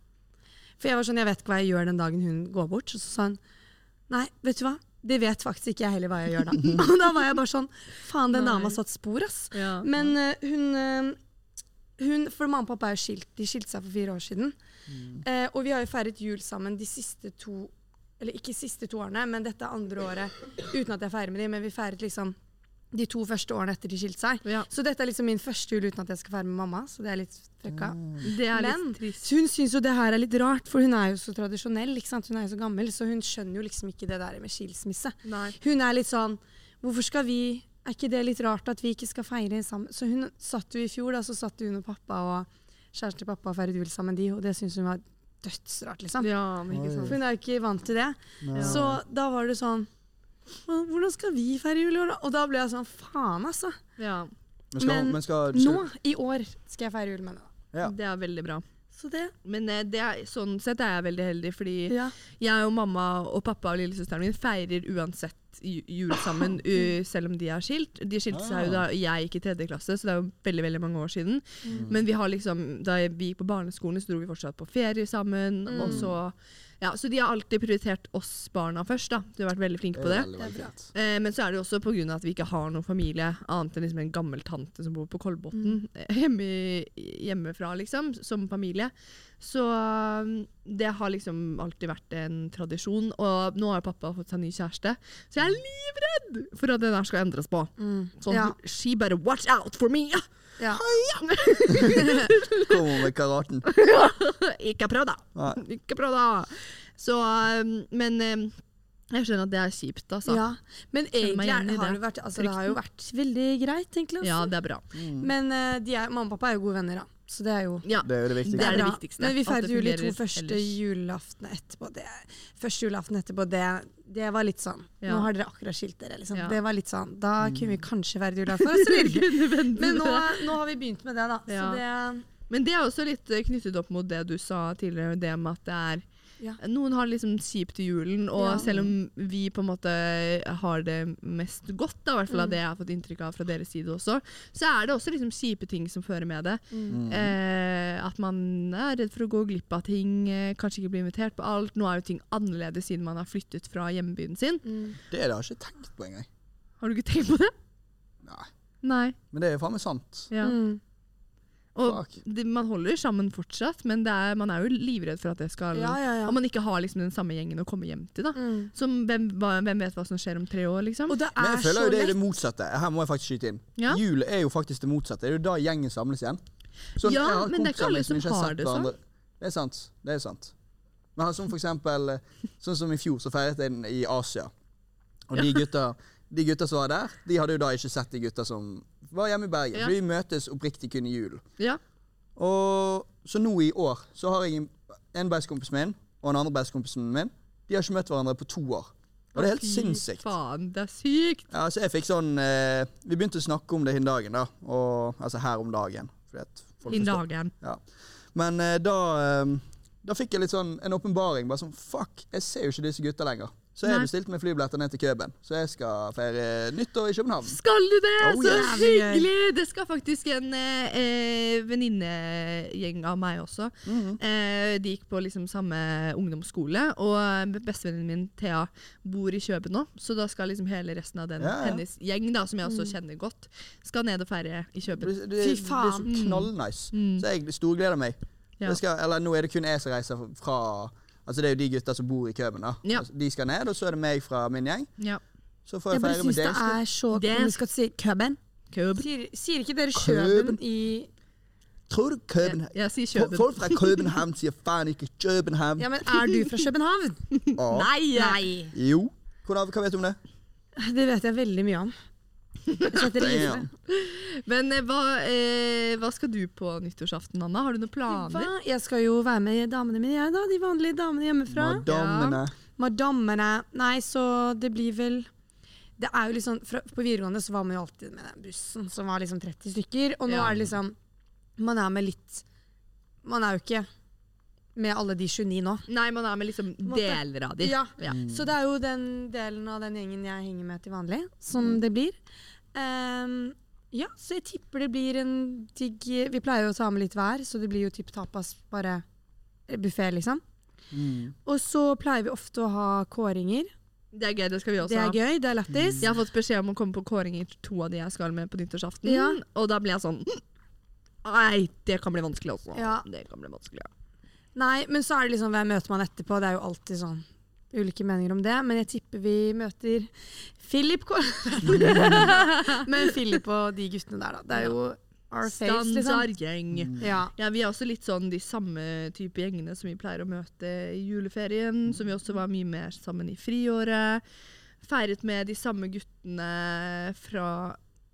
C: For jeg var sånn, jeg vet ikke hva jeg gjør den dagen hun går bort. Så sa hun Nei, vet du hva, Det vet faktisk ikke jeg heller hva jeg gjør da. Og da var jeg bare sånn Faen, den
A: Nei.
C: dama satt spor, ass.
A: Ja.
C: Men eh, hun, eh, hun For mamma og pappa er jo skilt. De skilte seg for fire år siden. Eh, og vi har jo feiret jul sammen de siste to Eller ikke siste to årene, men dette er andre året uten at jeg feirer med dem. Men vi feiret liksom de to første årene etter de skilte seg.
A: ja.
C: Så dette er liksom min første jul uten at jeg skal feire med mamma. Så det er litt fucka.
A: Det er litt
C: Men-
A: trist.
C: Så hun syns jo det her er litt rart, for hun er jo så tradisjonell. Ikke sant? Hun er jo så gammel, så hun skjønner jo liksom ikke det der med skilsmisse.
A: Nei.
C: Hun er litt sånn Hvorfor skal vi Er ikke det litt rart at vi ikke skal feire sammen? Så hun satt jo i fjor, da, så satt hun og pappa og kjæresten til pappa og feiret jul sammen, de, og det syntes hun var dødsrart, liksom.
A: Ja, men ikke
B: Oi.
A: sant.
C: For hun er jo ikke vant til det.
A: Ja.
C: Så da var det sånn «Å, Hvordan skal vi feire jul i år, da? Og da ble jeg sånn Faen, altså.
A: Ja,
B: Men skal,
C: Men
B: men skal, skal
C: Nå, i år, skal jeg feire jul med henne.
B: Ja.
A: det er veldig bra.
C: Så det
A: Men eh, det er, sånn sett er jeg veldig heldig, fordi
C: Ja.
A: jeg og mamma og pappa og lillesøsteren min feirer uansett ju- jul sammen, u- selv om de er skilt. De skilte seg jo da jeg gikk i tredje klasse, så det er jo veldig veldig mange år siden. Men vi har liksom, da vi gikk på barneskolen, så dro vi fortsatt på ferie sammen. Og så, ja, så de har alltid prioritert oss barna først. da. Du har vært veldig flink på det.
B: Veldig,
C: Det er
B: veldig
C: bra.
B: fint.
A: Eh, men så er det jo også pga. at vi ikke har noen familie annet enn liksom en gammel tante som bor på Kolbotn.
C: Mm.
A: eh, Hjemme, hjemmefra, liksom, som familie. Så um, det har liksom alltid vært en tradisjon. Og nå har jo pappa fått seg ny kjæreste, så jeg er livredd for at det der skal endres på. Sånn,
C: Mm. Ja.
A: She better watch out for me!
C: ja.
B: Kommer med karaten.
A: Ikke prøv, da!
B: Nei.
A: Ikke prøv, da! Så um, Men um, jeg skjønner at det er kjipt, altså.
C: ja. Men
A: meg
C: egentlig
A: igjen
C: er det,
A: i
C: har det,
A: det.
C: vært, altså, det har jo vært veldig greit, egentlig. Altså.
A: Ja, det er bra.
B: Mm.
C: Men eh, de er, mamma og pappa er jo gode venner, da. Så det er jo
A: Ja.
B: Det er jo det
A: Det
B: viktigste.
A: er det
C: bra.
A: viktigste,
C: Men vi
A: at det
C: feiret jul i to
A: fungerer
C: første
A: ellers.
C: julaften etterpå. Det, første julaften etterpå, det, det var litt sånn
A: Ja.
C: Nå har dere akkurat skilt dere, liksom.
A: Ja.
C: Det var litt sånn Da
B: Mm.
C: kunne vi kanskje feiret jul her for oss. eller? Men nå, nå har vi begynt med det, da. Så
A: Ja.
C: det
A: Men det er også litt eh, knyttet opp mot det du sa tidligere, det med at det er
C: Ja.
A: Noen har det liksom kjipt i julen, og
C: Ja.
A: selv om vi på en måte har det mest godt, da, i hvert
C: Mm.
A: fall av det jeg har fått inntrykk av fra deres side også, så er det også liksom kjipe ting som fører med det.
C: mm.
B: Mm.
A: Eh, at man er redd for å gå glipp av ting, eh, kanskje ikke bli invitert på alt. Nå er jo ting annerledes siden man har flyttet fra hjembyen sin.
B: Mm.
C: Mm.
B: Det har jeg ikke tenkt på engang.
A: Har du ikke tenkt på det?
B: Nei.
A: Nei.
B: Men det er jo faen meg sant.
A: Ja.
C: mm.
A: Og
B: Fuck.
A: det, man holder sammen fortsatt, men det er, man er jo livredd for at det skal
C: Ja, ja, ja.
A: Om man ikke har liksom den samme gjengen å komme hjem til. da.
C: Mm.
A: Som, hvem, hva, hvem vet hva som skjer om tre år, liksom?
C: Og det
B: Men
C: er
B: jeg
C: så
B: føler jo det er
C: lett.
B: det motsatte. Her må jeg faktisk skyte inn.
A: Ja.
B: Jul er jo faktisk det motsatte. Det er jo da gjengen samles igjen. Sånn,
A: Ja,
B: jeg har
A: men det er ikke
B: kompiser
A: alle
B: min
A: som
B: ikke
A: har
B: sett
A: det sånn.
B: hverandre. Det er sant. Det er sant. Men han som for eksempel, eh, sånn som i fjor, så feiret jeg den i Asia. Og de gutta, de gutta som var der, de hadde jo da ikke sett de gutta som var hjemme i Bergen.
A: Ja.
B: For de møtes oppriktig kun i julen.
A: Ja.
B: Og så nå i år så har jeg en, en bestekompis min og en andre bestekompisen min. De har ikke møtt hverandre på to år. Og det er helt
A: Fy
B: sinnssykt.
A: Faen, det er sykt!
B: Ja, altså jeg fikk sånn eh, Vi begynte å snakke om det hin dagen, da. Og, altså her om dagen. Fordi at folk
A: Innen
B: forstår.
A: dagen.
B: Ja. Men eh, da eh, Da fikk jeg litt sånn en åpenbaring. Bare sånn Fuck, jeg ser jo ikke disse gutta lenger. Så jeg
A: Nei.
B: bestilte meg flybilletter ned til Køben. Så jeg skal feire nyttår i København.
A: Skal du det?
B: Oh,
A: Så
B: yes.
A: hyggelig! Det skal faktisk en eh, eh, venninnegjeng av meg også.
B: Mhm.
A: eh, de gikk på liksom samme ungdomsskole, og bestevennen min Thea bor i Kjøben nå, så da skal liksom hele resten av den,
B: Ja, ja.
A: hennes gjeng, da, som jeg også kjenner godt, skal ned og feire i
B: Det,
A: Kjøben.
B: blir- det,
C: Fy
B: det blir så
C: faen. Mm.
B: knallnice. Så jeg storgleder meg.
A: Ja.
B: Jeg skal, eller nå er det kun jeg som reiser fra Altså Det er jo de gutta som bor i Køben. da Altså,
A: Ja.
B: De skal ned, og så er det meg fra min gjeng.
A: Ja.
B: Så får jeg
C: Jeg bare
B: feire med
C: syns det
B: dere.
C: er så
A: Det-
C: komisk at si Køben.
A: Køben.
C: Sier, sier ikke dere Kjøben i
B: Tror du
A: Jeg,
B: Køben
A: jeg sier
B: Folk
A: Kjøben.
B: folk fra København sier faen ikke København.
C: Ja, men er du fra København?
B: Ah.
C: Nei! Nei.
B: Jo. Hvordan, hva vet du om det?
C: Det vet jeg veldig mye om. Jeg setter pris på det.
B: Damn.
A: Men eh, hva, eh, hva skal du på nyttårsaften, Anna? Har du noen
C: Hva?
A: planer?
C: Jeg skal jo være med damene mine, jeg da. De vanlige damene hjemmefra.
B: Madammene.
C: Madammene. Nei, så det blir vel Det er jo liksom fra, På videregående så var man jo alltid med den bussen som var liksom 30 stykker. Og nå
A: Ja.
C: er det liksom Man er med litt Man er jo ikke med alle de 29 nå.
A: Nei, man er med liksom
C: måte.
A: deler av de.
C: Ja.
A: Ja.
C: Så det er jo den delen av den gjengen jeg henger med til vanlig, som det blir. Ehm, ja, så jeg tipper det blir en digg Vi pleier jo å ta med litt hver, så det blir jo typ tapas,
B: Mm.
C: bare buffé, liksom. Og så pleier vi ofte å ha kåringer.
A: Det er gøy, det skal vi også
C: Det
A: ha.
C: er gøy, det er lættis.
A: Jeg har fått beskjed om å komme på kåring i to av de jeg skal med på nyttårsaften.
C: Ja.
A: Og da ble jeg sånn Nei, det kan bli vanskelig også.
C: Ja.
A: Det kan bli vanskelig. ja.
C: Nei, men så er det liksom hvem møter man etterpå. Det er jo alltid sånn ulike meninger om det. Men jeg tipper vi møter Philip K. men Philip og de guttene der, da. Det er jo our faves, liksom.
A: Standardgjeng.
C: Ja.
A: Ja, vi er også litt sånn de samme type gjengene som vi pleier å møte i juleferien. Som vi også var mye mer sammen i friåret. Feiret med de samme guttene fra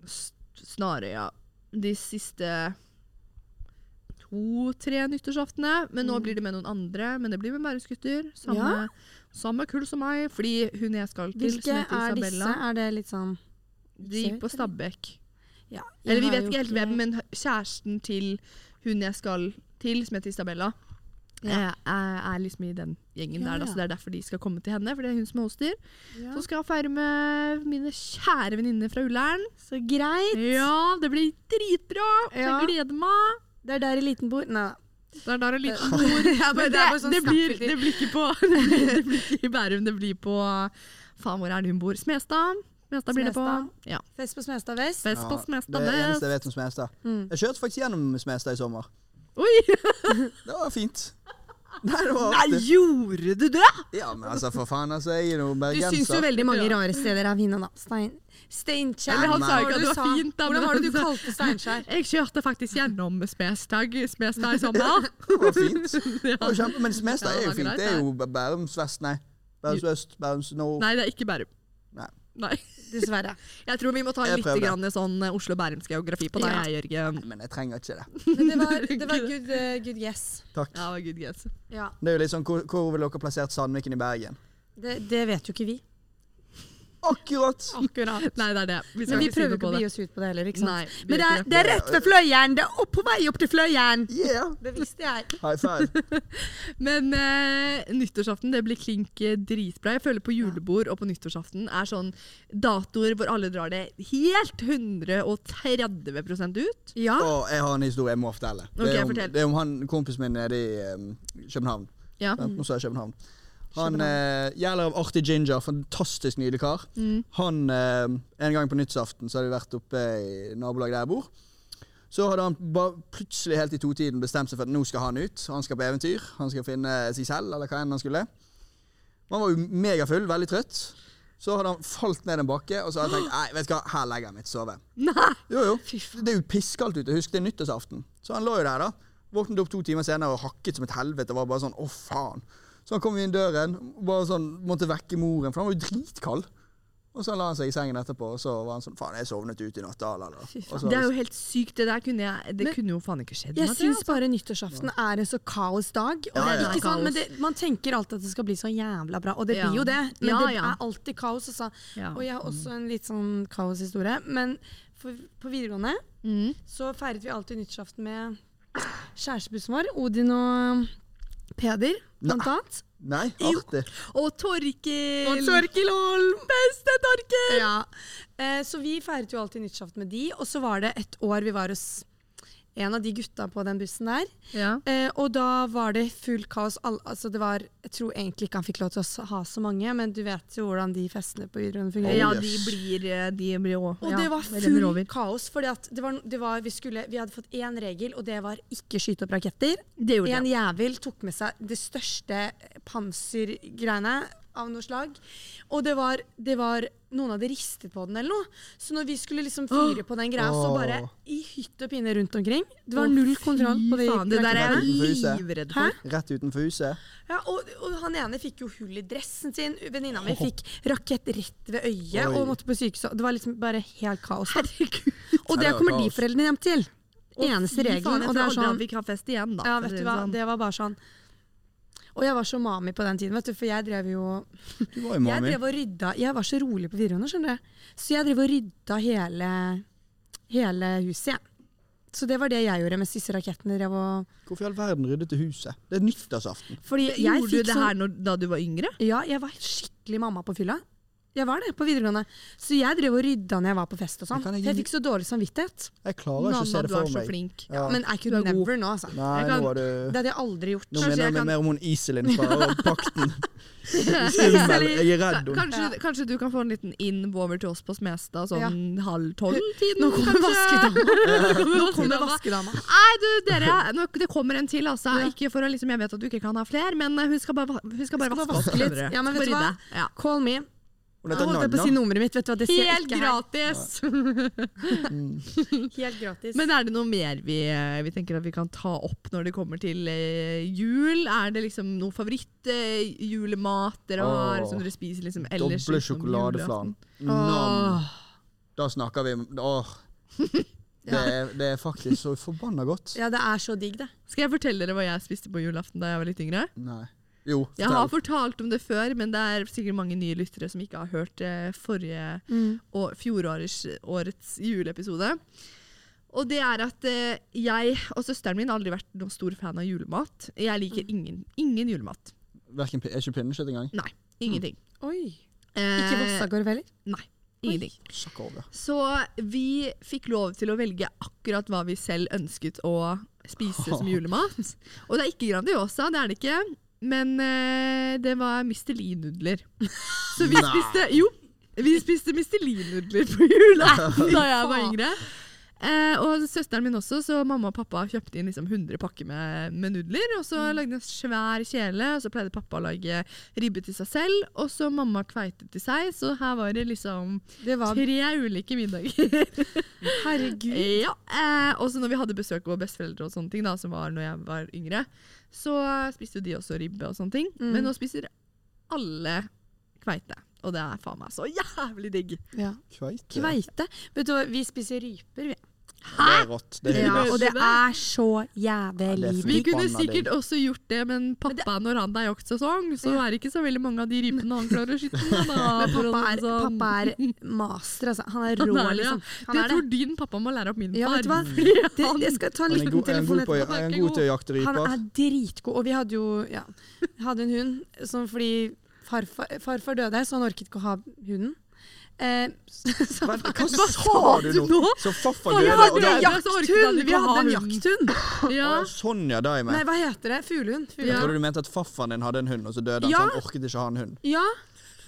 A: S- Snarøya de siste to-tre nyttårsaftene. Men nå blir det med noen andre. Men det blir med Bærumsgutter. Samme,
C: Mm. Ja.
A: samme kull som meg. Fordi hun jeg skal til,
C: Hvilke
A: som heter
C: er disse?
A: Isabella,
C: Er det litt sånn
A: de gikk på Stabekk.
C: ja, jeg
A: Eller vi
C: har
A: vet
C: jo
A: ikke helt hvem, men hø- kjæresten til hun jeg skal til, som heter Isabella, eh, er, er liksom i den gjengen
C: Ja,
A: der. Da,
C: ja.
A: så det er derfor de skal komme til henne, for det er hun som er hoster.
C: Ja.
A: Så skal jeg feire med mine kjære venninner fra Ullern.
C: Så greit.
A: Ja, det blir dritbra!
C: Ja.
A: Jeg gleder meg!
C: Det er der eliten bor. Nei da.
A: Det er der en liten
C: Ja, Eh, men
A: Men
C: det er bare sånn
A: det, blir,
C: snakkfilter.
A: det blir ikke på det blir, det blir ikke i Bærum, det blir på Faen, hvor er det hun bor? Smestad? Smestad blir det
C: Smestad.
A: på. Ja.
C: Fest på Smestad vest.
A: Fest på
B: det
A: Smestad.
B: er det
A: Vest.
B: eneste jeg vet om Smestad.
C: Mm.
B: Jeg kjørte faktisk gjennom Smestad i sommer.
A: Oi!
B: Det var fint. Nei, det var
A: Nei,
B: artig.
A: gjorde du det?!
B: Ja, men altså, for faen, altså, jeg er jo
C: Du syns jo
B: bergenser.
C: veldig mange
A: Ja.
C: rare steder er fine, da. Stein, Steinkjer.
A: Eller han sa
C: Hva
A: ikke at det var
C: sa?
A: fint, da, men
C: Hvordan var
A: han
C: det du
A: sa-
C: kalte Steinkjer?
A: Jeg kjørte faktisk gjennom Smestad Smestad i sommer.
B: Det var fint. Det var
A: Ja.
B: kjempe, men Smestad
A: Ja,
B: er jo
A: det var
B: fint.
A: greit,
B: Det er jo Bærums vest, nei. Bærums øst, Bærums nord.
A: Nei, det er ikke Bærum.
B: Nei.
A: Nei.
C: Dessverre.
A: Jeg tror vi må ta
B: Jeg
A: litt
B: prøver.
A: grann sånn eh, Oslo-Bærums geografi på deg,
C: Ja.
A: jeg, Jørgen.
B: Men jeg trenger ikke det.
C: Men det var, det var good, eh, good guess.
B: Takk.
A: Ja, good guess.
C: Ja,
B: Det er jo litt sånn, hvor, hvor ville dere plassert Sandviken i Bergen?
C: det, det vet jo ikke vi.
B: Akkurat!
C: Akkurat.
A: Nei, det er det. Vi
C: Men
A: skal
C: vi
A: ikke si
C: prøver
A: noe
C: ikke
A: på
C: å
A: det.
C: bli oss ut på det heller. ikke sant?
A: Nei, vi
C: Men det
A: gjør
C: er,
A: ikke
C: det er rett ved Fløyen! Det er opp på vei opp til Fløyen!
B: Yeah!
C: Det visste jeg.
B: High five.
A: Men eh, nyttårsaften det blir klink eh, dritbra. Jeg føler på julebord og på nyttårsaften er sånn datoer hvor alle drar det helt 130 ut.
C: Ja.
B: Og jeg har en historie jeg må fortelle.
A: Ok,
B: det, er om,
A: fortell.
B: det er om han kompisen min nede i em, København.
A: Ja.
B: Vent, nå sa jeg København. Han eh, gjelder av Artig Ginger, fantastisk nydelig kar. Han, eh, En gang på nyttsaften så hadde vi vært oppe i nabolaget der jeg bor. Så hadde han ba plutselig helt i totiden bestemt seg for at nå skal han ut. Han skal på eventyr. Han skal finne seg selv, eller hva enn han skulle. Han var jo megafull, veldig trøtt. Så hadde han falt ned en bakke, og så hadde jeg tenkt nei, vet du hva, her legger jeg meg til å sove.
A: Nei!
B: Jo, jo. Det er jo pisskaldt ute. Husk, det er nyttårsaften. Så han lå jo der, da. Våknet opp to timer senere og hakket som et helvete. Og var bare sånn, å faen. Så han kom inn døren, og bare sånn, måtte vekke moren, for han var jo dritkald. Og så la han seg i sengen etterpå, og så var han sånn Faen, jeg sovnet ute i natt, da, la, la.
C: Fy faen.
B: Og så-
A: Det er jo helt sykt. Det der kunne, jeg, det altså-
C: Men-
A: kunne jo faen ikke skjedd.
C: Jeg
A: Mathias.
C: syns bare nyttårsaften er en så kaos dag. Og
B: Ja,
C: det
B: ja,
C: er
B: ja.
C: ikke sånn, men det, Man tenker alltid at det skal bli så jævla bra, og det
A: Ja.
C: blir jo det. Men
A: Ja,
C: det
A: ja.
C: er alltid kaos. Altså.
A: Ja. Mm.
C: Og jeg har også en litt sånn kaoshistorie. Men for, på videregående
A: Mm.
C: så feiret vi alltid nyttårsaften med kjærestebussen vår, Odin og Peder, blant annet.
B: Nei, artig.
A: Og Torkil!
C: Og Torkil Holm!
A: Beste Torkil!
C: Ja. Eh, så vi feiret jo alltid nyttårsaften med de, og så var det et år vi var hos en av de gutta på den bussen der.
A: Ja.
C: Eh, og da var det fullt kaos. All, altså det var, jeg tror egentlig ikke han fikk lov til å s- ha så mange, men du vet jo hvordan de festene på videregående fungerer.
A: ja,
B: Oh, yes.
A: de blir, eh, de blir også,
C: Og
A: ja,
C: det var
A: renner
C: full
A: over.
C: kaos, for det var, det var, vi, skulle, vi hadde fått én regel, og det var ikke skyte opp raketter.
A: Det gjorde
C: En
A: det.
C: jævel tok med seg det største pansergreiene av noe slag. Og det var, det var Noen hadde ristet på den eller noe. Så når vi skulle liksom fyre på den greia, så bare i hytt og pinne rundt omkring. Det var
A: Å,
C: null kontroll
A: fy
C: på de
A: faen, Det der er
C: rakettene.
A: jeg
B: Huset.
A: livredd
C: Hæ?
A: for.
B: Rett utenfor huset.
C: Ja, og, og han ene fikk jo hull i dressen sin. Venninna mi fikk rakett rett ved øyet
B: Oi.
C: og måtte på sykehuset. Det var liksom bare helt kaos. da.
A: Herregud.
C: Og
B: Ja,
C: det
B: det var
C: kommer de
B: kaos.
C: foreldrene hjem til. Eneste
A: Fy faen,
C: regelen.
A: Jeg
C: Og
A: tror
C: det er
A: aldri
C: sånn
A: at vi kan ha fest igjen, da.
C: Ja,
A: for å
C: vet
A: si
C: du
A: det
C: hva.
A: sånn.
C: Det var bare sånn. Og jeg var så mami på den tiden, vet du, for jeg drev jo
B: Du var jo
C: Jeg
B: mami.
C: drev og rydda Jeg var så rolig på videregående, skjønner du. Så jeg drev og rydda hele, hele huset, jeg. Så det var det jeg gjorde mens disse rakettene drev og
B: Hvorfor i all verden ryddet du huset? Det er nyttårsaften.
C: Fordi jeg
A: Gjorde du
C: fikk
A: det
C: sånn
A: her når, da du var yngre?
C: Ja, jeg var skikkelig mamma på fylla. Jeg var det på videregående. Så jeg drev og rydda når jeg var på fest og sånn.
B: Men kan jeg
C: For jeg
B: gi-
C: fikk så dårlig samvittighet.
B: Jeg klarer ikke å
A: Nanna,
B: se det
A: du er
B: for
A: så
B: meg.
A: flink.
B: Ja.
C: Men I could
A: Du er god.
C: never nå, altså.
B: Nei,
A: Jeg kan-
B: nå var du
C: Det hadde jeg aldri gjort.
B: Nå
A: Kanskje
B: minner
A: jeg
B: jeg meg
A: kan-
B: mer om hun Iselin fra Pakten. Skummel. Jeg er redd hun.
A: Kanskje, kanskje du kan få en liten inbover til oss på Smestad sånn halv tolv-tiden?
C: Nå kommer vaskedama.
A: Nå
C: Kommer vaskedama.
A: Nei, du, dere, nå, det kommer en til, altså. Ikke for å liksom, Jeg vet at du ikke kan ha fler, men eh, hun skal bare, va- hun skal bare
C: Skal bare
A: vaske opp.
C: vaske litt.
A: skjønner du.
C: Ja, men
A: Skal bare
C: vet du hva?
A: rydde. Ja.
C: Call me.
B: Hun
C: Nå
B: heter
C: holdt jeg på å si
B: Nanna.
C: nummeret mitt. Vet du hva, det ser jeg
A: Helt
C: ikke her.
A: gratis!
C: Helt gratis.
A: Men er det noe mer vi, eh, vi tenker at vi kan ta opp når det kommer til eh, jul? Er det liksom noen favorittjulemat dere har
B: Åh.
A: som dere spiser liksom ellers?
B: Doble
A: utenom
B: sjokoladeflan.
A: julaften?
B: Nam.
C: Åh.
B: Da snakker vi om Åh. Det er, det er faktisk så forbanna godt.
C: Ja, det er så digg, det.
A: Skal jeg fortelle dere hva jeg spiste på julaften da jeg var litt yngre?
B: Nei. Jo,
A: Jeg har
B: fortell.
A: fortalt om det før, men det er sikkert mange nye lyttere som ikke har hørt eh, forrige
C: Mm.
A: og fjorårets årets juleepisode. Og det er at eh, jeg og søsteren min har aldri vært noen stor fan av julemat. Jeg liker ingen, ingen julemat.
B: Hverken, pi- er ikke pinnekjøtt engang?
A: Nei, ingenting.
C: Oi.
A: Eh,
C: Mm. Ikke Vossagorv heller?
A: Nei, ingenting.
B: Sakk over.
A: Så vi fikk lov til å velge akkurat hva vi selv ønsket å spise som julemat. Og det er ikke Grandiosa, det er det ikke. Men eh, det var Mistelin-nudler. Så vi
B: Nei.
A: spiste Jo, vi spiste Mistelin-nudler på julaften da jeg var yngre. Eh, og søsteren min også, så mamma og pappa kjøpte inn liksom 100 pakker med, med nudler. Og så lagde jeg en svær kjele, og så pleide pappa å lage ribbe til seg selv. Og så mamma kveite til seg, så her var det liksom
C: Det var
A: Tre ulike middager.
C: Herregud.
A: ja. Eh, og så når vi hadde besøk av besteforeldre, og sånne ting da, som var når jeg var yngre, så spiste jo de også ribbe og sånne ting.
C: Mm.
A: Men nå spiser alle kveite. Og det er faen meg så jævlig digg.
C: Ja.
B: Kveite.
C: Kveite. Vet du hva, vi spiser ryper, vi.
B: Det er rått. Det er
A: Ja,
B: hyggelig.
A: og det
C: er så jævlig
B: digg.
A: Vi
B: Vi
A: kunne
B: banna
A: sikkert også gjort det, men pappa, når han er i jaktsesong, så er det ikke så veldig mange av de rypene han klarer å skyte. med, Da, for å
C: Pappa
A: si
C: er,
A: det sånn.
C: pappa er master, altså. Han er
A: Han
C: rå,
A: er det, ja.
C: liksom. Han
A: det
C: er det.
A: tror din pappa må lære opp min far.
C: Ja, vet du hva?
A: fordi
C: Det,
A: han-
C: jeg skal ta en
B: Han er
C: liten
B: god, er han
C: telefon
B: god, på,
C: etterpå.
B: er han god til å jakte
C: Han
B: ryper.
C: er dritgod. Og vi hadde jo ja, hadde en hund som fordi farfar, farfar døde, så han orket ikke å ha hunden. Eh, så, så,
B: Hva, hva
A: Hva
B: sa
A: sa
B: du
A: du
B: nå?
A: nå?
B: Så farfar
A: Å, jeg
B: døde,
A: hadde
B: og da
A: jo jakt- så orket han
C: jakthund!
A: ikke
C: Vi
A: å ha
C: hadde en
A: hunden.
C: jakthund.
A: ja.
B: Å, Sånn ja, da er jeg
C: Nei,
B: med.
C: hva heter det? Fuglehund.
A: Ja.
B: Jeg
C: Fuglehund.
B: trodde du mente at farfaren din hadde en hund, og så døde han,
C: Ja.
B: så han orket ikke ha en hund.
C: Ja.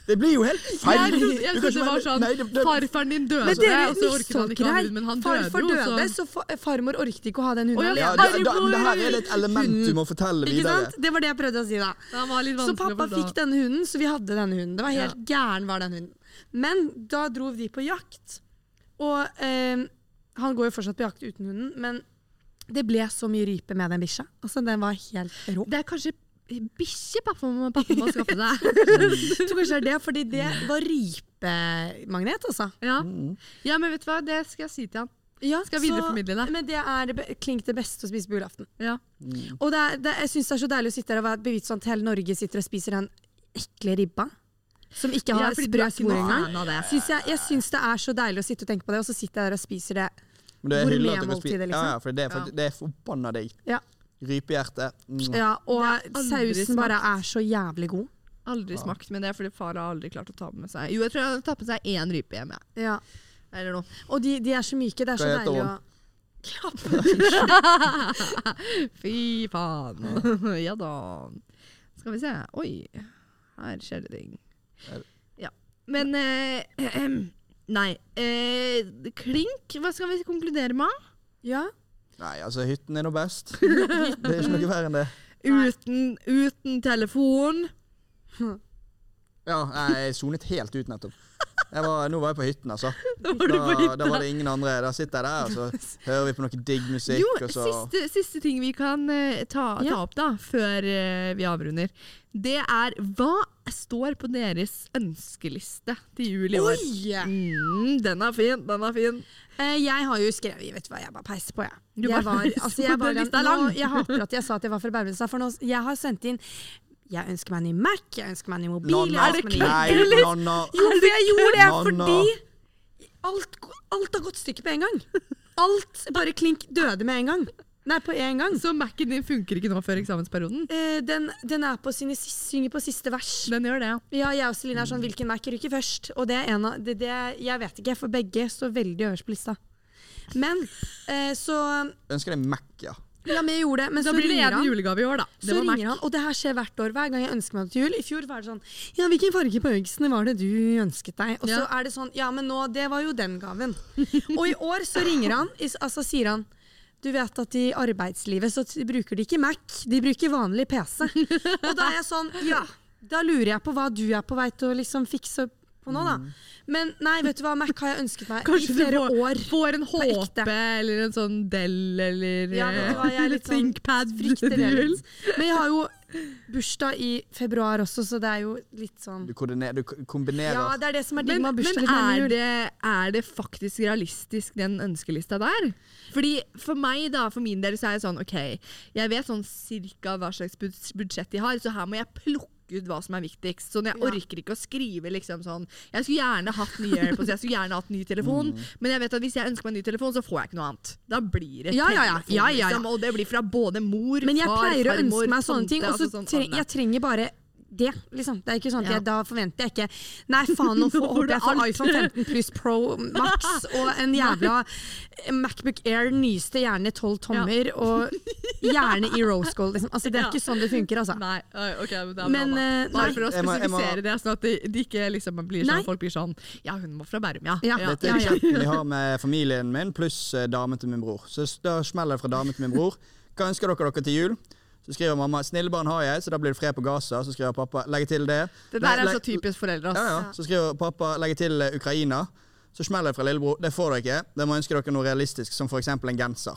B: Det blir jo helt feil!
A: Jeg trodde, jeg
B: Du
A: trodde
B: kan ikke
A: det var
B: mene-
A: sånn
B: Nei, det- det-
A: Farfaren din døde,
C: Men
A: Altså,
C: dere
A: og så orket han
C: mistolker
A: ikke ha
C: her.
A: hund, men han
C: Farfar
A: døde jo.
C: døde,
A: Så.
C: så fa- farmor orket ikke å ha den
A: Å,
C: hunden
A: ja.
B: Ja,
C: alene.
B: da,
A: Farmor!
B: da, det her er et element du må fortelle
C: Ikke
B: videre.
C: sant? Det var det jeg prøvde å si, da.
A: Han var litt
C: Så
A: vanskelig å
C: pappa
A: forstå.
C: fikk denne hunden, så vi hadde denne hunden. Det var helt gæren var den hunden. Men da dro de på jakt. Og eh, han går jo fortsatt på jakt uten hunden, men det ble så mye rype med den bikkja. Altså, den var helt rå.
A: Det er kanskje bikkje pappa må, pappa må skaffe seg.
C: Jeg tror kanskje det er det, fordi det var rypemagnet, altså.
A: Ja. ja, men vet du hva, det skal jeg si til han.
C: Ja,
A: Skal videreformidle det.
C: Men det er det be- klink det beste å spise på julaften.
A: Ja.
C: Og det er, det, jeg syns det er så deilig å sitte her og være bevisst sånn at hele Norge sitter og spiser den ekle ribba. Som ikke har
A: fordi du er
C: sprø
A: ikke
C: spor
A: noe
C: engang.
A: fan av det.
C: Syns jeg jeg syns det er så deilig å sitte og tenke på det, og så sitter jeg der og spiser det.
B: Men det er hyggelig at dere
C: Gourmetmåltidet,
B: spiser-
C: liksom.
B: Ja, ja, for det er, for,
A: Ja.
B: det er forbanna digg.
C: Ja,
B: Rypehjerte. Mm.
C: ja
A: Det
C: Og
A: har aldri
C: sausen
A: smakt.
C: bare er så jævlig god.
A: Aldri smakt, men det er fordi far har aldri klart å ta med seg Jo, jeg tror han har tatt med seg én rype hjem, jeg.
C: Ja.
A: Eller noe.
C: Og de, de er så myke. Det er så
B: Hva heter
C: deilig å
B: hun?
A: Fy faen. ja da. Skal vi se. Oi, her skjer det ting.
B: Er-
A: Ja. Men eh, Nei. Eh, klink, hva skal vi konkludere med?
C: Ja.
B: Nei, altså, hytten er nå best. Det er ikke noe verre enn det.
C: Nei.
A: Uten, uten telefon.
B: Ja, nei, jeg sonet helt ut nettopp. Jeg var, nå var jeg på hytten, altså.
A: Da var du på
B: Da, da var
A: hytta.
B: det ingen andre. Da sitter jeg der, og så hører vi på noe digg musikk,
A: Jo,
B: og så
A: siste, siste ting vi kan eh, ta, ta
C: Ja.
A: opp da, før eh, vi avrunder, det er hva står på deres ønskeliste til jul i år?
C: Oi!
A: Mm, den er fin, den er fin.
C: Eh, jeg har jo skrevet Vet du hva, jeg bare peiser på, jeg.
A: Du bare
C: jeg var,
A: peiser
C: altså,
A: på,
C: jeg,
A: den
C: var,
A: lista er
C: nå,
A: lang.
C: jeg hater at jeg sa at jeg var fra Bergenstad, for nå, jeg har sendt inn Jeg ønsker meg en ny Mac, jeg ønsker meg en ny mobil jeg
B: Nanna,
C: ønsker meg en ny-
B: nei, Nanna.
C: Jo, for jeg gjorde det
B: Nanna.
C: fordi alt, alt har gått stykket på en gang. Alt bare klink døde med en gang. Nei, på én gang.
A: Så Mac-en din funker ikke nå før eksamensperioden?
C: Eh, den, den er på sine, sis- synger på siste vers.
A: Den gjør det, ja.
C: Ja, jeg og Celine er sånn Hvilken Mac ryker først? Og det er en av det, det, Jeg vet ikke, for begge står veldig øverst på lista. Men eh, så
B: Ønsker deg Mac, ja.
C: Ja, men jeg gjorde det. Men
A: Da
C: så
A: blir det
C: ringer
A: en
C: han.
A: julegave i år, da. Det
C: Så
A: var
C: ringer
A: Mac.
C: han, og det her skjer hvert år. Hver gang jeg ønsker meg det til jul. I fjor var det sånn Ja, hvilken farge på øyeksene var det du ønsket deg? Og så
A: Ja.
C: er det sånn Ja, men nå Det var jo den gaven. og i år så ringer han, is- altså sier han du vet at i arbeidslivet så t- bruker de ikke Mac, de bruker vanlig PC. Og da er jeg sånn Ja, da lurer jeg på hva du er på vei til å liksom fikse på nå, da. Men nei, vet du hva, Mac har jeg ønsket meg
A: Mm. Kanskje
C: i
A: du
C: flere
A: får,
C: år.
A: får en
C: På ekte.
A: HP eller en sånn Del eller
C: Ja, vet du hva, jeg er
A: eh,
C: litt sånn-
A: ThinkPad
C: frykter det
A: til jul.
C: litt. Men jeg har jo bursdag i februar også, så det er jo litt sånn
B: Du, koordiner- du k- kombinerer
C: Ja, det er det som er digg
A: Men,
C: med å ha bursdag
A: men
C: litt
A: er,
C: nærmere jul.
A: det, er det faktisk realistisk, den ønskelista der? Fordi For meg da, for min del så er det sånn OK, jeg vet sånn cirka hva slags bud- budsjett de har, så her må jeg plukke ut hva som er viktigst. Sånn, Jeg
C: Ja.
A: orker ikke å skrive liksom sånn Jeg skulle gjerne hatt nye AirPods, jeg skulle gjerne hatt ny telefon,
C: Mm.
A: men jeg vet at hvis jeg ønsker meg en ny telefon, så får jeg ikke noe annet. Da blir det
C: Ja, ja, ja.
A: telefon,
C: Ja, ja, ja.
A: Liksom, og det blir fra både mor,
C: Men jeg
A: far,
C: pleier å
A: farmor,
C: ønske meg sånne ting,
A: tante,
C: og så
A: altså sånn
C: tre
A: Anne.
C: jeg trenger bare det. liksom. Det er ikke sånn at
A: Ja.
C: jeg, Da forventer jeg ikke Nei, faen,
A: Nå
C: nå får,
A: får
C: håper
A: du
C: jeg får
A: alt.
C: iPhone 15 pluss Pro Max og en jævla eh, Macbook Air, nyeste, gjerne 12 tommer, og gjerne i rose gold. Liksom. Altså, det er
A: Ja.
C: ikke sånn det funker, altså.
A: Nei, ø, ok, men det er
C: Men,
A: bra da.
C: eh,
A: Bare
C: nei.
A: for å
B: Jeg må- jeg må-
A: spesifisere det, sånn at det, det ikke liksom blir sånn,
C: Nei.
A: folk blir sånn Ja, hun må fra Bærum, ja.
C: Ja,
B: Dette er chatten vi har med familien min pluss eh, damen til min bror. Så s- da smeller det fra damen til min bror. Hva ønsker dere dere til jul? Så skriver mamma 'snille barn har jeg', så da blir det fred på Gaza. Så skriver pappa 'legge til det'.
A: Det der
B: Nei,
A: er
B: le-
A: så typisk foreldre,
B: Ja,
A: ass.
B: ja. Så skriver pappa 'legge til eh, Ukraina'. Så smeller det fra lillebror 'det får dere ikke', dere må ønske dere noe realistisk, som f.eks. en genser.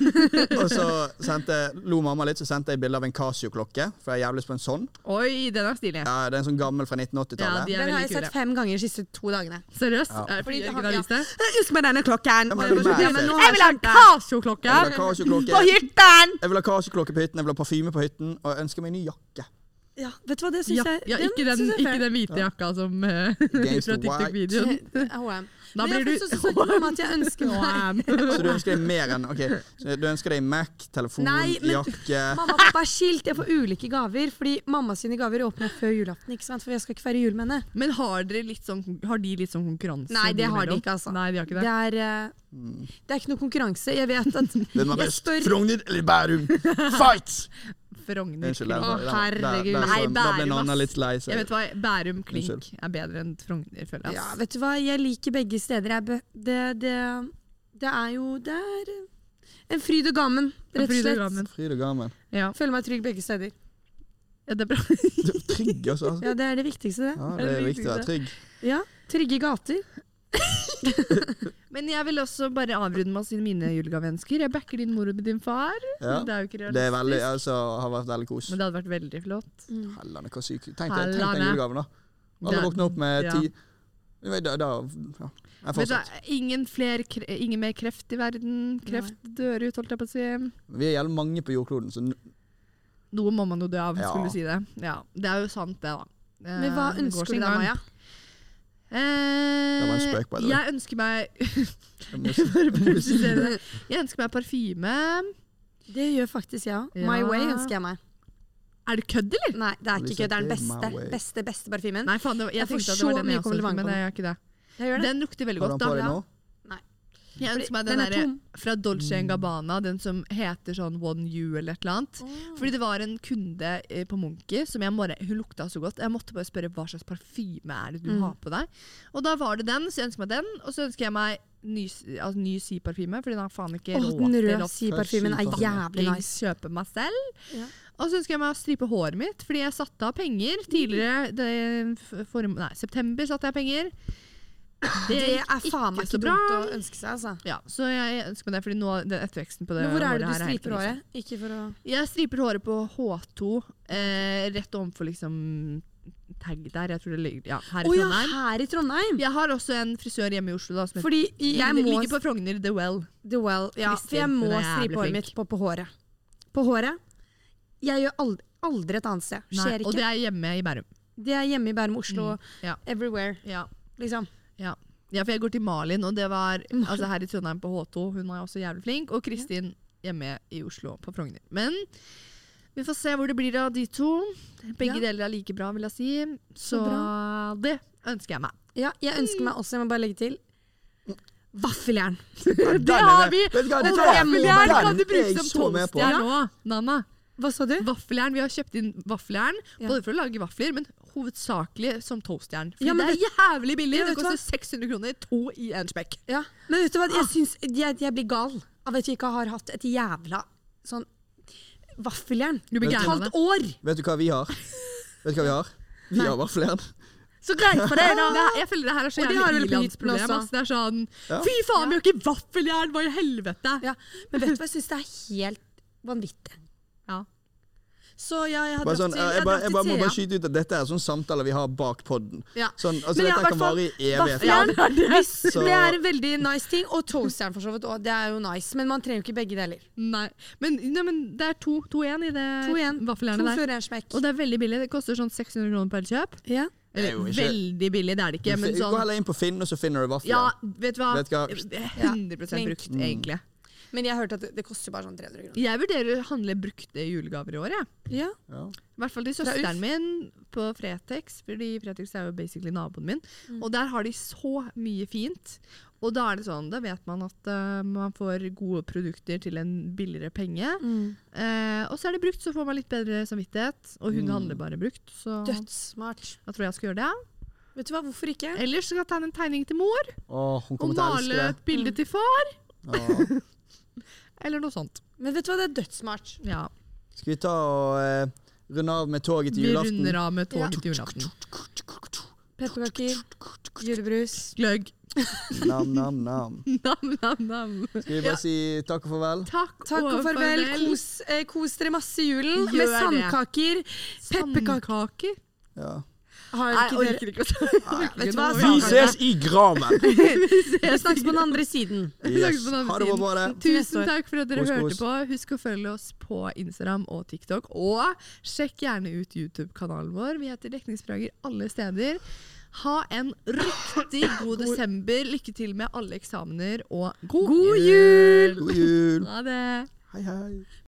B: og så sendte, lo mamma litt, så sendte jeg bilde av en Casio-klokke, for jeg er jævlig spent sånn.
A: Oi, den er stilig.
B: Ja, det er en sånn gammel fra 1980-tallet.
A: Ja, de er
C: Den har
A: veldig
C: jeg sett
A: kule.
C: fem ganger de siste to dagene.
A: Seriøst?
B: Ja.
A: Er det fordi
C: Fordi
A: dere
C: han-
A: ikke har
C: ja.
A: vist det?
C: Husk med denne klokken!
B: Ja,
C: Og
B: men
C: jeg var sånn,
B: det er
C: ja, men nå
A: Jeg
C: har
A: vil ha en
C: skjønt det.
A: Casio-klokke!
B: Jeg vil ha Casio-klokke.
C: På hytten!
B: Jeg vil ha Casio-klokke på hytten, jeg vil ha parfyme på hytten, og jeg ønsker meg en ny jakke.
C: Ja, vet du hva, det syns
A: Ja,
C: jeg
A: ja,
C: den
A: ikke, den,
C: synes jeg er
A: ikke den hvite jakka som eh,
B: Against
A: fra
B: the
A: TikTok-videoen.
C: HM.
A: Da blir
C: Men jeg har
A: du-
C: faktisk også snakket om at jeg ønsker meg
B: Så du ønsker deg mer enn ok, så du ønsker deg Mac, telefon,
C: Nei, men-
B: jakke
C: Mamma og pappa er skilt, jeg får ulike gaver. Fordi mamma sine gaver åpner før julaften, ikke sant? for jeg skal ikke feire jul med henne.
A: Men har, dere litt sånn, har de litt sånn konkurranse?
C: Nei, det har de
A: imellom?
C: ikke, altså.
A: Nei, de har ikke Mm. det.
C: Det er, eh, det er ikke noe konkurranse. Jeg vet at
B: Hvem er
C: jeg
B: best?
C: spør
B: Frogner eller Bærum? Fight!
A: Frogner Klink.
B: Unnskyld. Der, var- der, var- der,
C: herregud.
B: der,
A: Nei,
B: så- sånn- da ble
A: Bærum,
B: Nanna
A: ass.
B: litt lei
A: Jeg
B: seg.
A: vet hva, Bærum Klink
B: Unnskyld.
A: er bedre enn Frogner, føler jeg.
C: Ja,
A: ass.
C: vet du hva, jeg liker begge steder. Jeg bø- det, det, det er jo Det er eh, en fryd og gammen, rett og
A: Fryd og
C: slett.
A: gammen.
B: Fryd og gammen.
A: Ja.
C: Føler meg trygg begge steder.
A: ja, det er bra.
B: Du er Trygg, altså. altså.
C: Ja, Det er det viktigste, det.
B: Ja, det er viktig å være trygg.
C: Ja, Trygge gater.
A: Men jeg vil også bare avrunde med å si mine julegaveønsker. Jeg backer din mor og din far.
B: Ja.
A: Det er jo ikke
B: Det er
A: realistisk.
B: veldig, altså, har vært veldig kos.
A: Men det hadde vært veldig flott.
B: Hellene, hva sykt. Tenk deg tenk den
A: Hellene.
B: julegaven, da. Alle
A: Det-
B: våkner opp med
A: ja.
B: ti Nei, Da, da ja.
A: Vet
B: Jeg
A: du,
B: fortsatt.
A: ingen, fler, kre- ingen mer kreft i verden. Kreft dør ut, holdt jeg på å si.
B: Vi er jævlig mange på jordkloden, så n-
A: Noe må man jo dø av,
B: Ja.
A: skulle du si det. Ja, det er jo sant, det, da. Eh,
C: Men hva
A: det går
C: ønsker du
A: sin
C: deg,
A: gang.
C: Maja?
A: Eh,
B: Det var en spøk, by the way.
A: jeg ønsker meg
B: jeg må-
A: Bare presisere det. Jeg ønsker meg parfyme.
C: Det gjør faktisk jeg òg. My
A: Ja.
C: Way ønsker jeg meg.
A: Er det kødd, eller?
C: Nei, det er ikke kødd. Det er den
B: Listen,
C: beste,
B: My Way.
C: beste beste parfymen.
A: Nei, faen, det var, jeg,
C: Jeg får
A: tenkte at det var den
C: så
A: jeg
C: mye
A: også ønsket,
C: komplimenter
A: men
C: på
A: det er ikke det.
C: Jeg gjør det.
A: Den lukter veldig
B: Har du
A: godt.
B: den på
A: da.
B: deg
A: Ja.
B: nå?
A: Jeg ønsker meg den,
C: Den er
A: derre
C: tom.
A: fra Dolce Gabbana, den som heter sånn One You eller et eller annet. Fordi det var en kunde eh, på Munki som jeg bare, hun lukta så godt. Jeg måtte bare spørre hva slags parfyme er det du
C: Mm.
A: har på deg. Og da var det den, så jeg ønsker meg den. Og så ønsker jeg meg ny, altså, ny Si-parfyme, for den har faen ikke
C: Åh,
A: råd
C: den
A: til
C: røde
A: å
C: si-parfymen er
B: Fuck,
C: jævlig
A: fucking
C: nice.
A: kjøpe meg selv.
C: Ja.
A: Og så ønsker jeg meg å stripe håret mitt, fordi jeg satte av penger tidligere.
C: Mm.
A: Det, f- for, nei, september satte jeg penger.
C: Det
A: gikk
C: er faen meg
A: ikke så
C: ikke
A: bra.
C: dumt å ønske seg, altså.
A: Ja, så jeg ønsker meg det, fordi nå den etterveksten på det
C: Men hvor er
A: håret
C: det du
A: her helt
C: striper
A: krise.
C: håret? Ikke for å
A: Jeg striper håret på H2, eh, rett overfor liksom tag der. Jeg tror det ligger ja, her i
C: Å ja,
A: Trondheim.
C: her i Trondheim!
A: Jeg har også en frisør hjemme i Oslo da, som heter
C: Fordi
A: Den
C: jeg må
A: ligger på Frogner The Well.
C: The Well. Ja, for jeg
A: Kristin,
C: må
A: hun er jævlig
C: stripe håret
A: flink.
C: mitt på, på håret. På håret. Jeg gjør aldri, aldri et annet sted.
A: Nei,
C: Skjer
A: og det
C: ikke.
A: er hjemme i Bærum.
C: Det er hjemme i Bærum, Oslo.
A: ja.
C: Everywhere,
A: Ja.
C: liksom.
A: Ja. ja, for jeg går til Malin, og det var altså her i Trondheim på H2. Hun var også jævlig flink. Og Kristin hjemme i Oslo på Frogner. Men vi får se hvor det blir av de to. Begge
C: Ja.
A: deler er like bra, vil jeg si. Så, det ønsker jeg meg.
C: Ja, jeg ønsker meg også, jeg må bare legge til, vaffeljern.
A: Det har vi!
B: Vet du hva,
A: Og
B: det tar jeg
A: Vaffeljern
B: på,
A: kan
B: den
A: du
B: er jeg
A: bruke som
B: så med på.
A: toastjern nå, Nanna.
C: Hva sa du?
A: Vaffeljern, Vi har kjøpt inn vaffeljern
C: Ja.
A: både for å lage vafler, men hovedsakelig som toastjern. Fordi
C: Ja, men
A: det er jævlig billig!
C: Ja,
A: det
C: vet du
A: koster 600 kroner to i en spekk.
C: Ja. Men vet du hva, jeg syns jeg, jeg blir gal av at vi ikke har hatt et jævla sånn vaffeljern.
A: Du blir
B: Vet
A: gæren
B: du-
A: av
C: Halvt
A: det.
C: år!
B: Vet du hva vi har? Vet du hva vi har? Vi har vaffeljern.
C: Så greit for deg,
A: Det
C: da.
A: er- Jeg føler det her er så
C: Og de har
A: jævlig
C: vel på
A: ilandsproblem.
C: hytten også.
A: ass. Det er sånn
B: Ja.
A: Fy faen, vi har ikke vaffeljern! Hva i helvete?
C: Ja. Men vet du hva, jeg syns det er helt vanvittig.
A: Ja.
C: Så ja, jeg har
B: Bare
C: dratt
B: sånn,
C: til,
B: jeg,
C: jeg har
B: bare, jeg
C: dratt
B: bare må
C: til
B: bare
C: Thea.
B: skyte ut at dette er sånn samtaler vi har bak podden.
A: Ja.
B: Sånn, altså,
C: Men ja,
B: dette kan
C: hvertfall,
B: vare i evigheter.
C: Vaffeljern,
A: Ja, det er det.
C: hvis
B: Så-
C: det er en veldig nice ting. Og toastjern for så vidt òg. Det er jo nice. Men man trenger jo ikke begge deler.
A: Nei. Men, nei, men det er 2-1 i det
C: To igjen. To
A: vaffeljernet der.
C: før en smekk.
A: Og det er veldig billig. Det koster sånn 600 kroner per kjøp.
C: Ja.
B: Det er
A: Eller
B: jo ikke-
A: veldig billig, det er det ikke, men
B: Gå
A: sånn
B: heller inn på Finn, og så finner du
A: Ja,
B: vaffeljern.
A: vet du hva?
B: Vet du hva? Mm.
A: 100 brukt, egentlig.
C: Men jeg hørte at det, det koster bare sånn 300 kroner.
A: Jeg vurderer å handle brukte julegaver i år, jeg.
C: Ja.
B: Ja.
A: I hvert fall til søsteren min på Fretex, fordi Fretex er jo basically naboen min.
C: Mm.
A: Og der har de så mye fint. Og da er det sånn, da vet man at eh, man får gode produkter til en billigere penge. Eh, og så er det brukt, så får man litt bedre samvittighet. Og hun
B: Mm.
A: handler bare brukt, så
C: Dødssmart.
A: da tror jeg jeg skal gjøre det.
C: Vet du hva, hvorfor ikke?
A: Ellers skal jeg tegne en tegning til mor,
B: Åh, hun
A: og
B: kommer til å elske
A: male
B: det.
A: et bilde
C: Mm.
A: til far,
B: Åh.
A: eller noe sånt.
C: Men vet du hva, det er dødssmart.
A: Ja,
B: Skal vi ta og eh, runde av med toget til
A: Vi
B: julaften?
A: runder av med toget til julaften.
C: Pepperkaker, julebrus.
A: Gløgg.
B: Nam, nam, nam.
A: Nam, nam, nam.
B: Skal vi bare si takk og farvel?
A: Takk,
C: Takk og farvel. Kos, eh, kos dere masse i julen
A: Gjør
C: med
A: det.
C: sandkaker. Pepperkaker.
A: Pepperkaker.
B: Ja.
C: Har
A: Nei, jeg
C: dere ikke dere?
A: orker ikke å ta det.
C: vet du hva,
A: Vi
C: Sandkaker. ses
B: i graven!
C: Vi snakkes på den andre siden.
B: Yes.
A: på den andre
B: Ha det bra,
A: siden.
B: bare.
C: Neste
A: Tusen
C: år.
A: takk for at dere
B: Kos,
A: hørte
B: kos.
A: på. Husk å følge oss på Instagram og TikTok. Og sjekk gjerne ut YouTube-kanalen vår. Vi heter Dekningsprager alle steder. Ha en riktig god desember. Lykke til med alle eksamener, og god,
C: God jul!
B: God jul!
A: Ha det!
B: Hei, hei.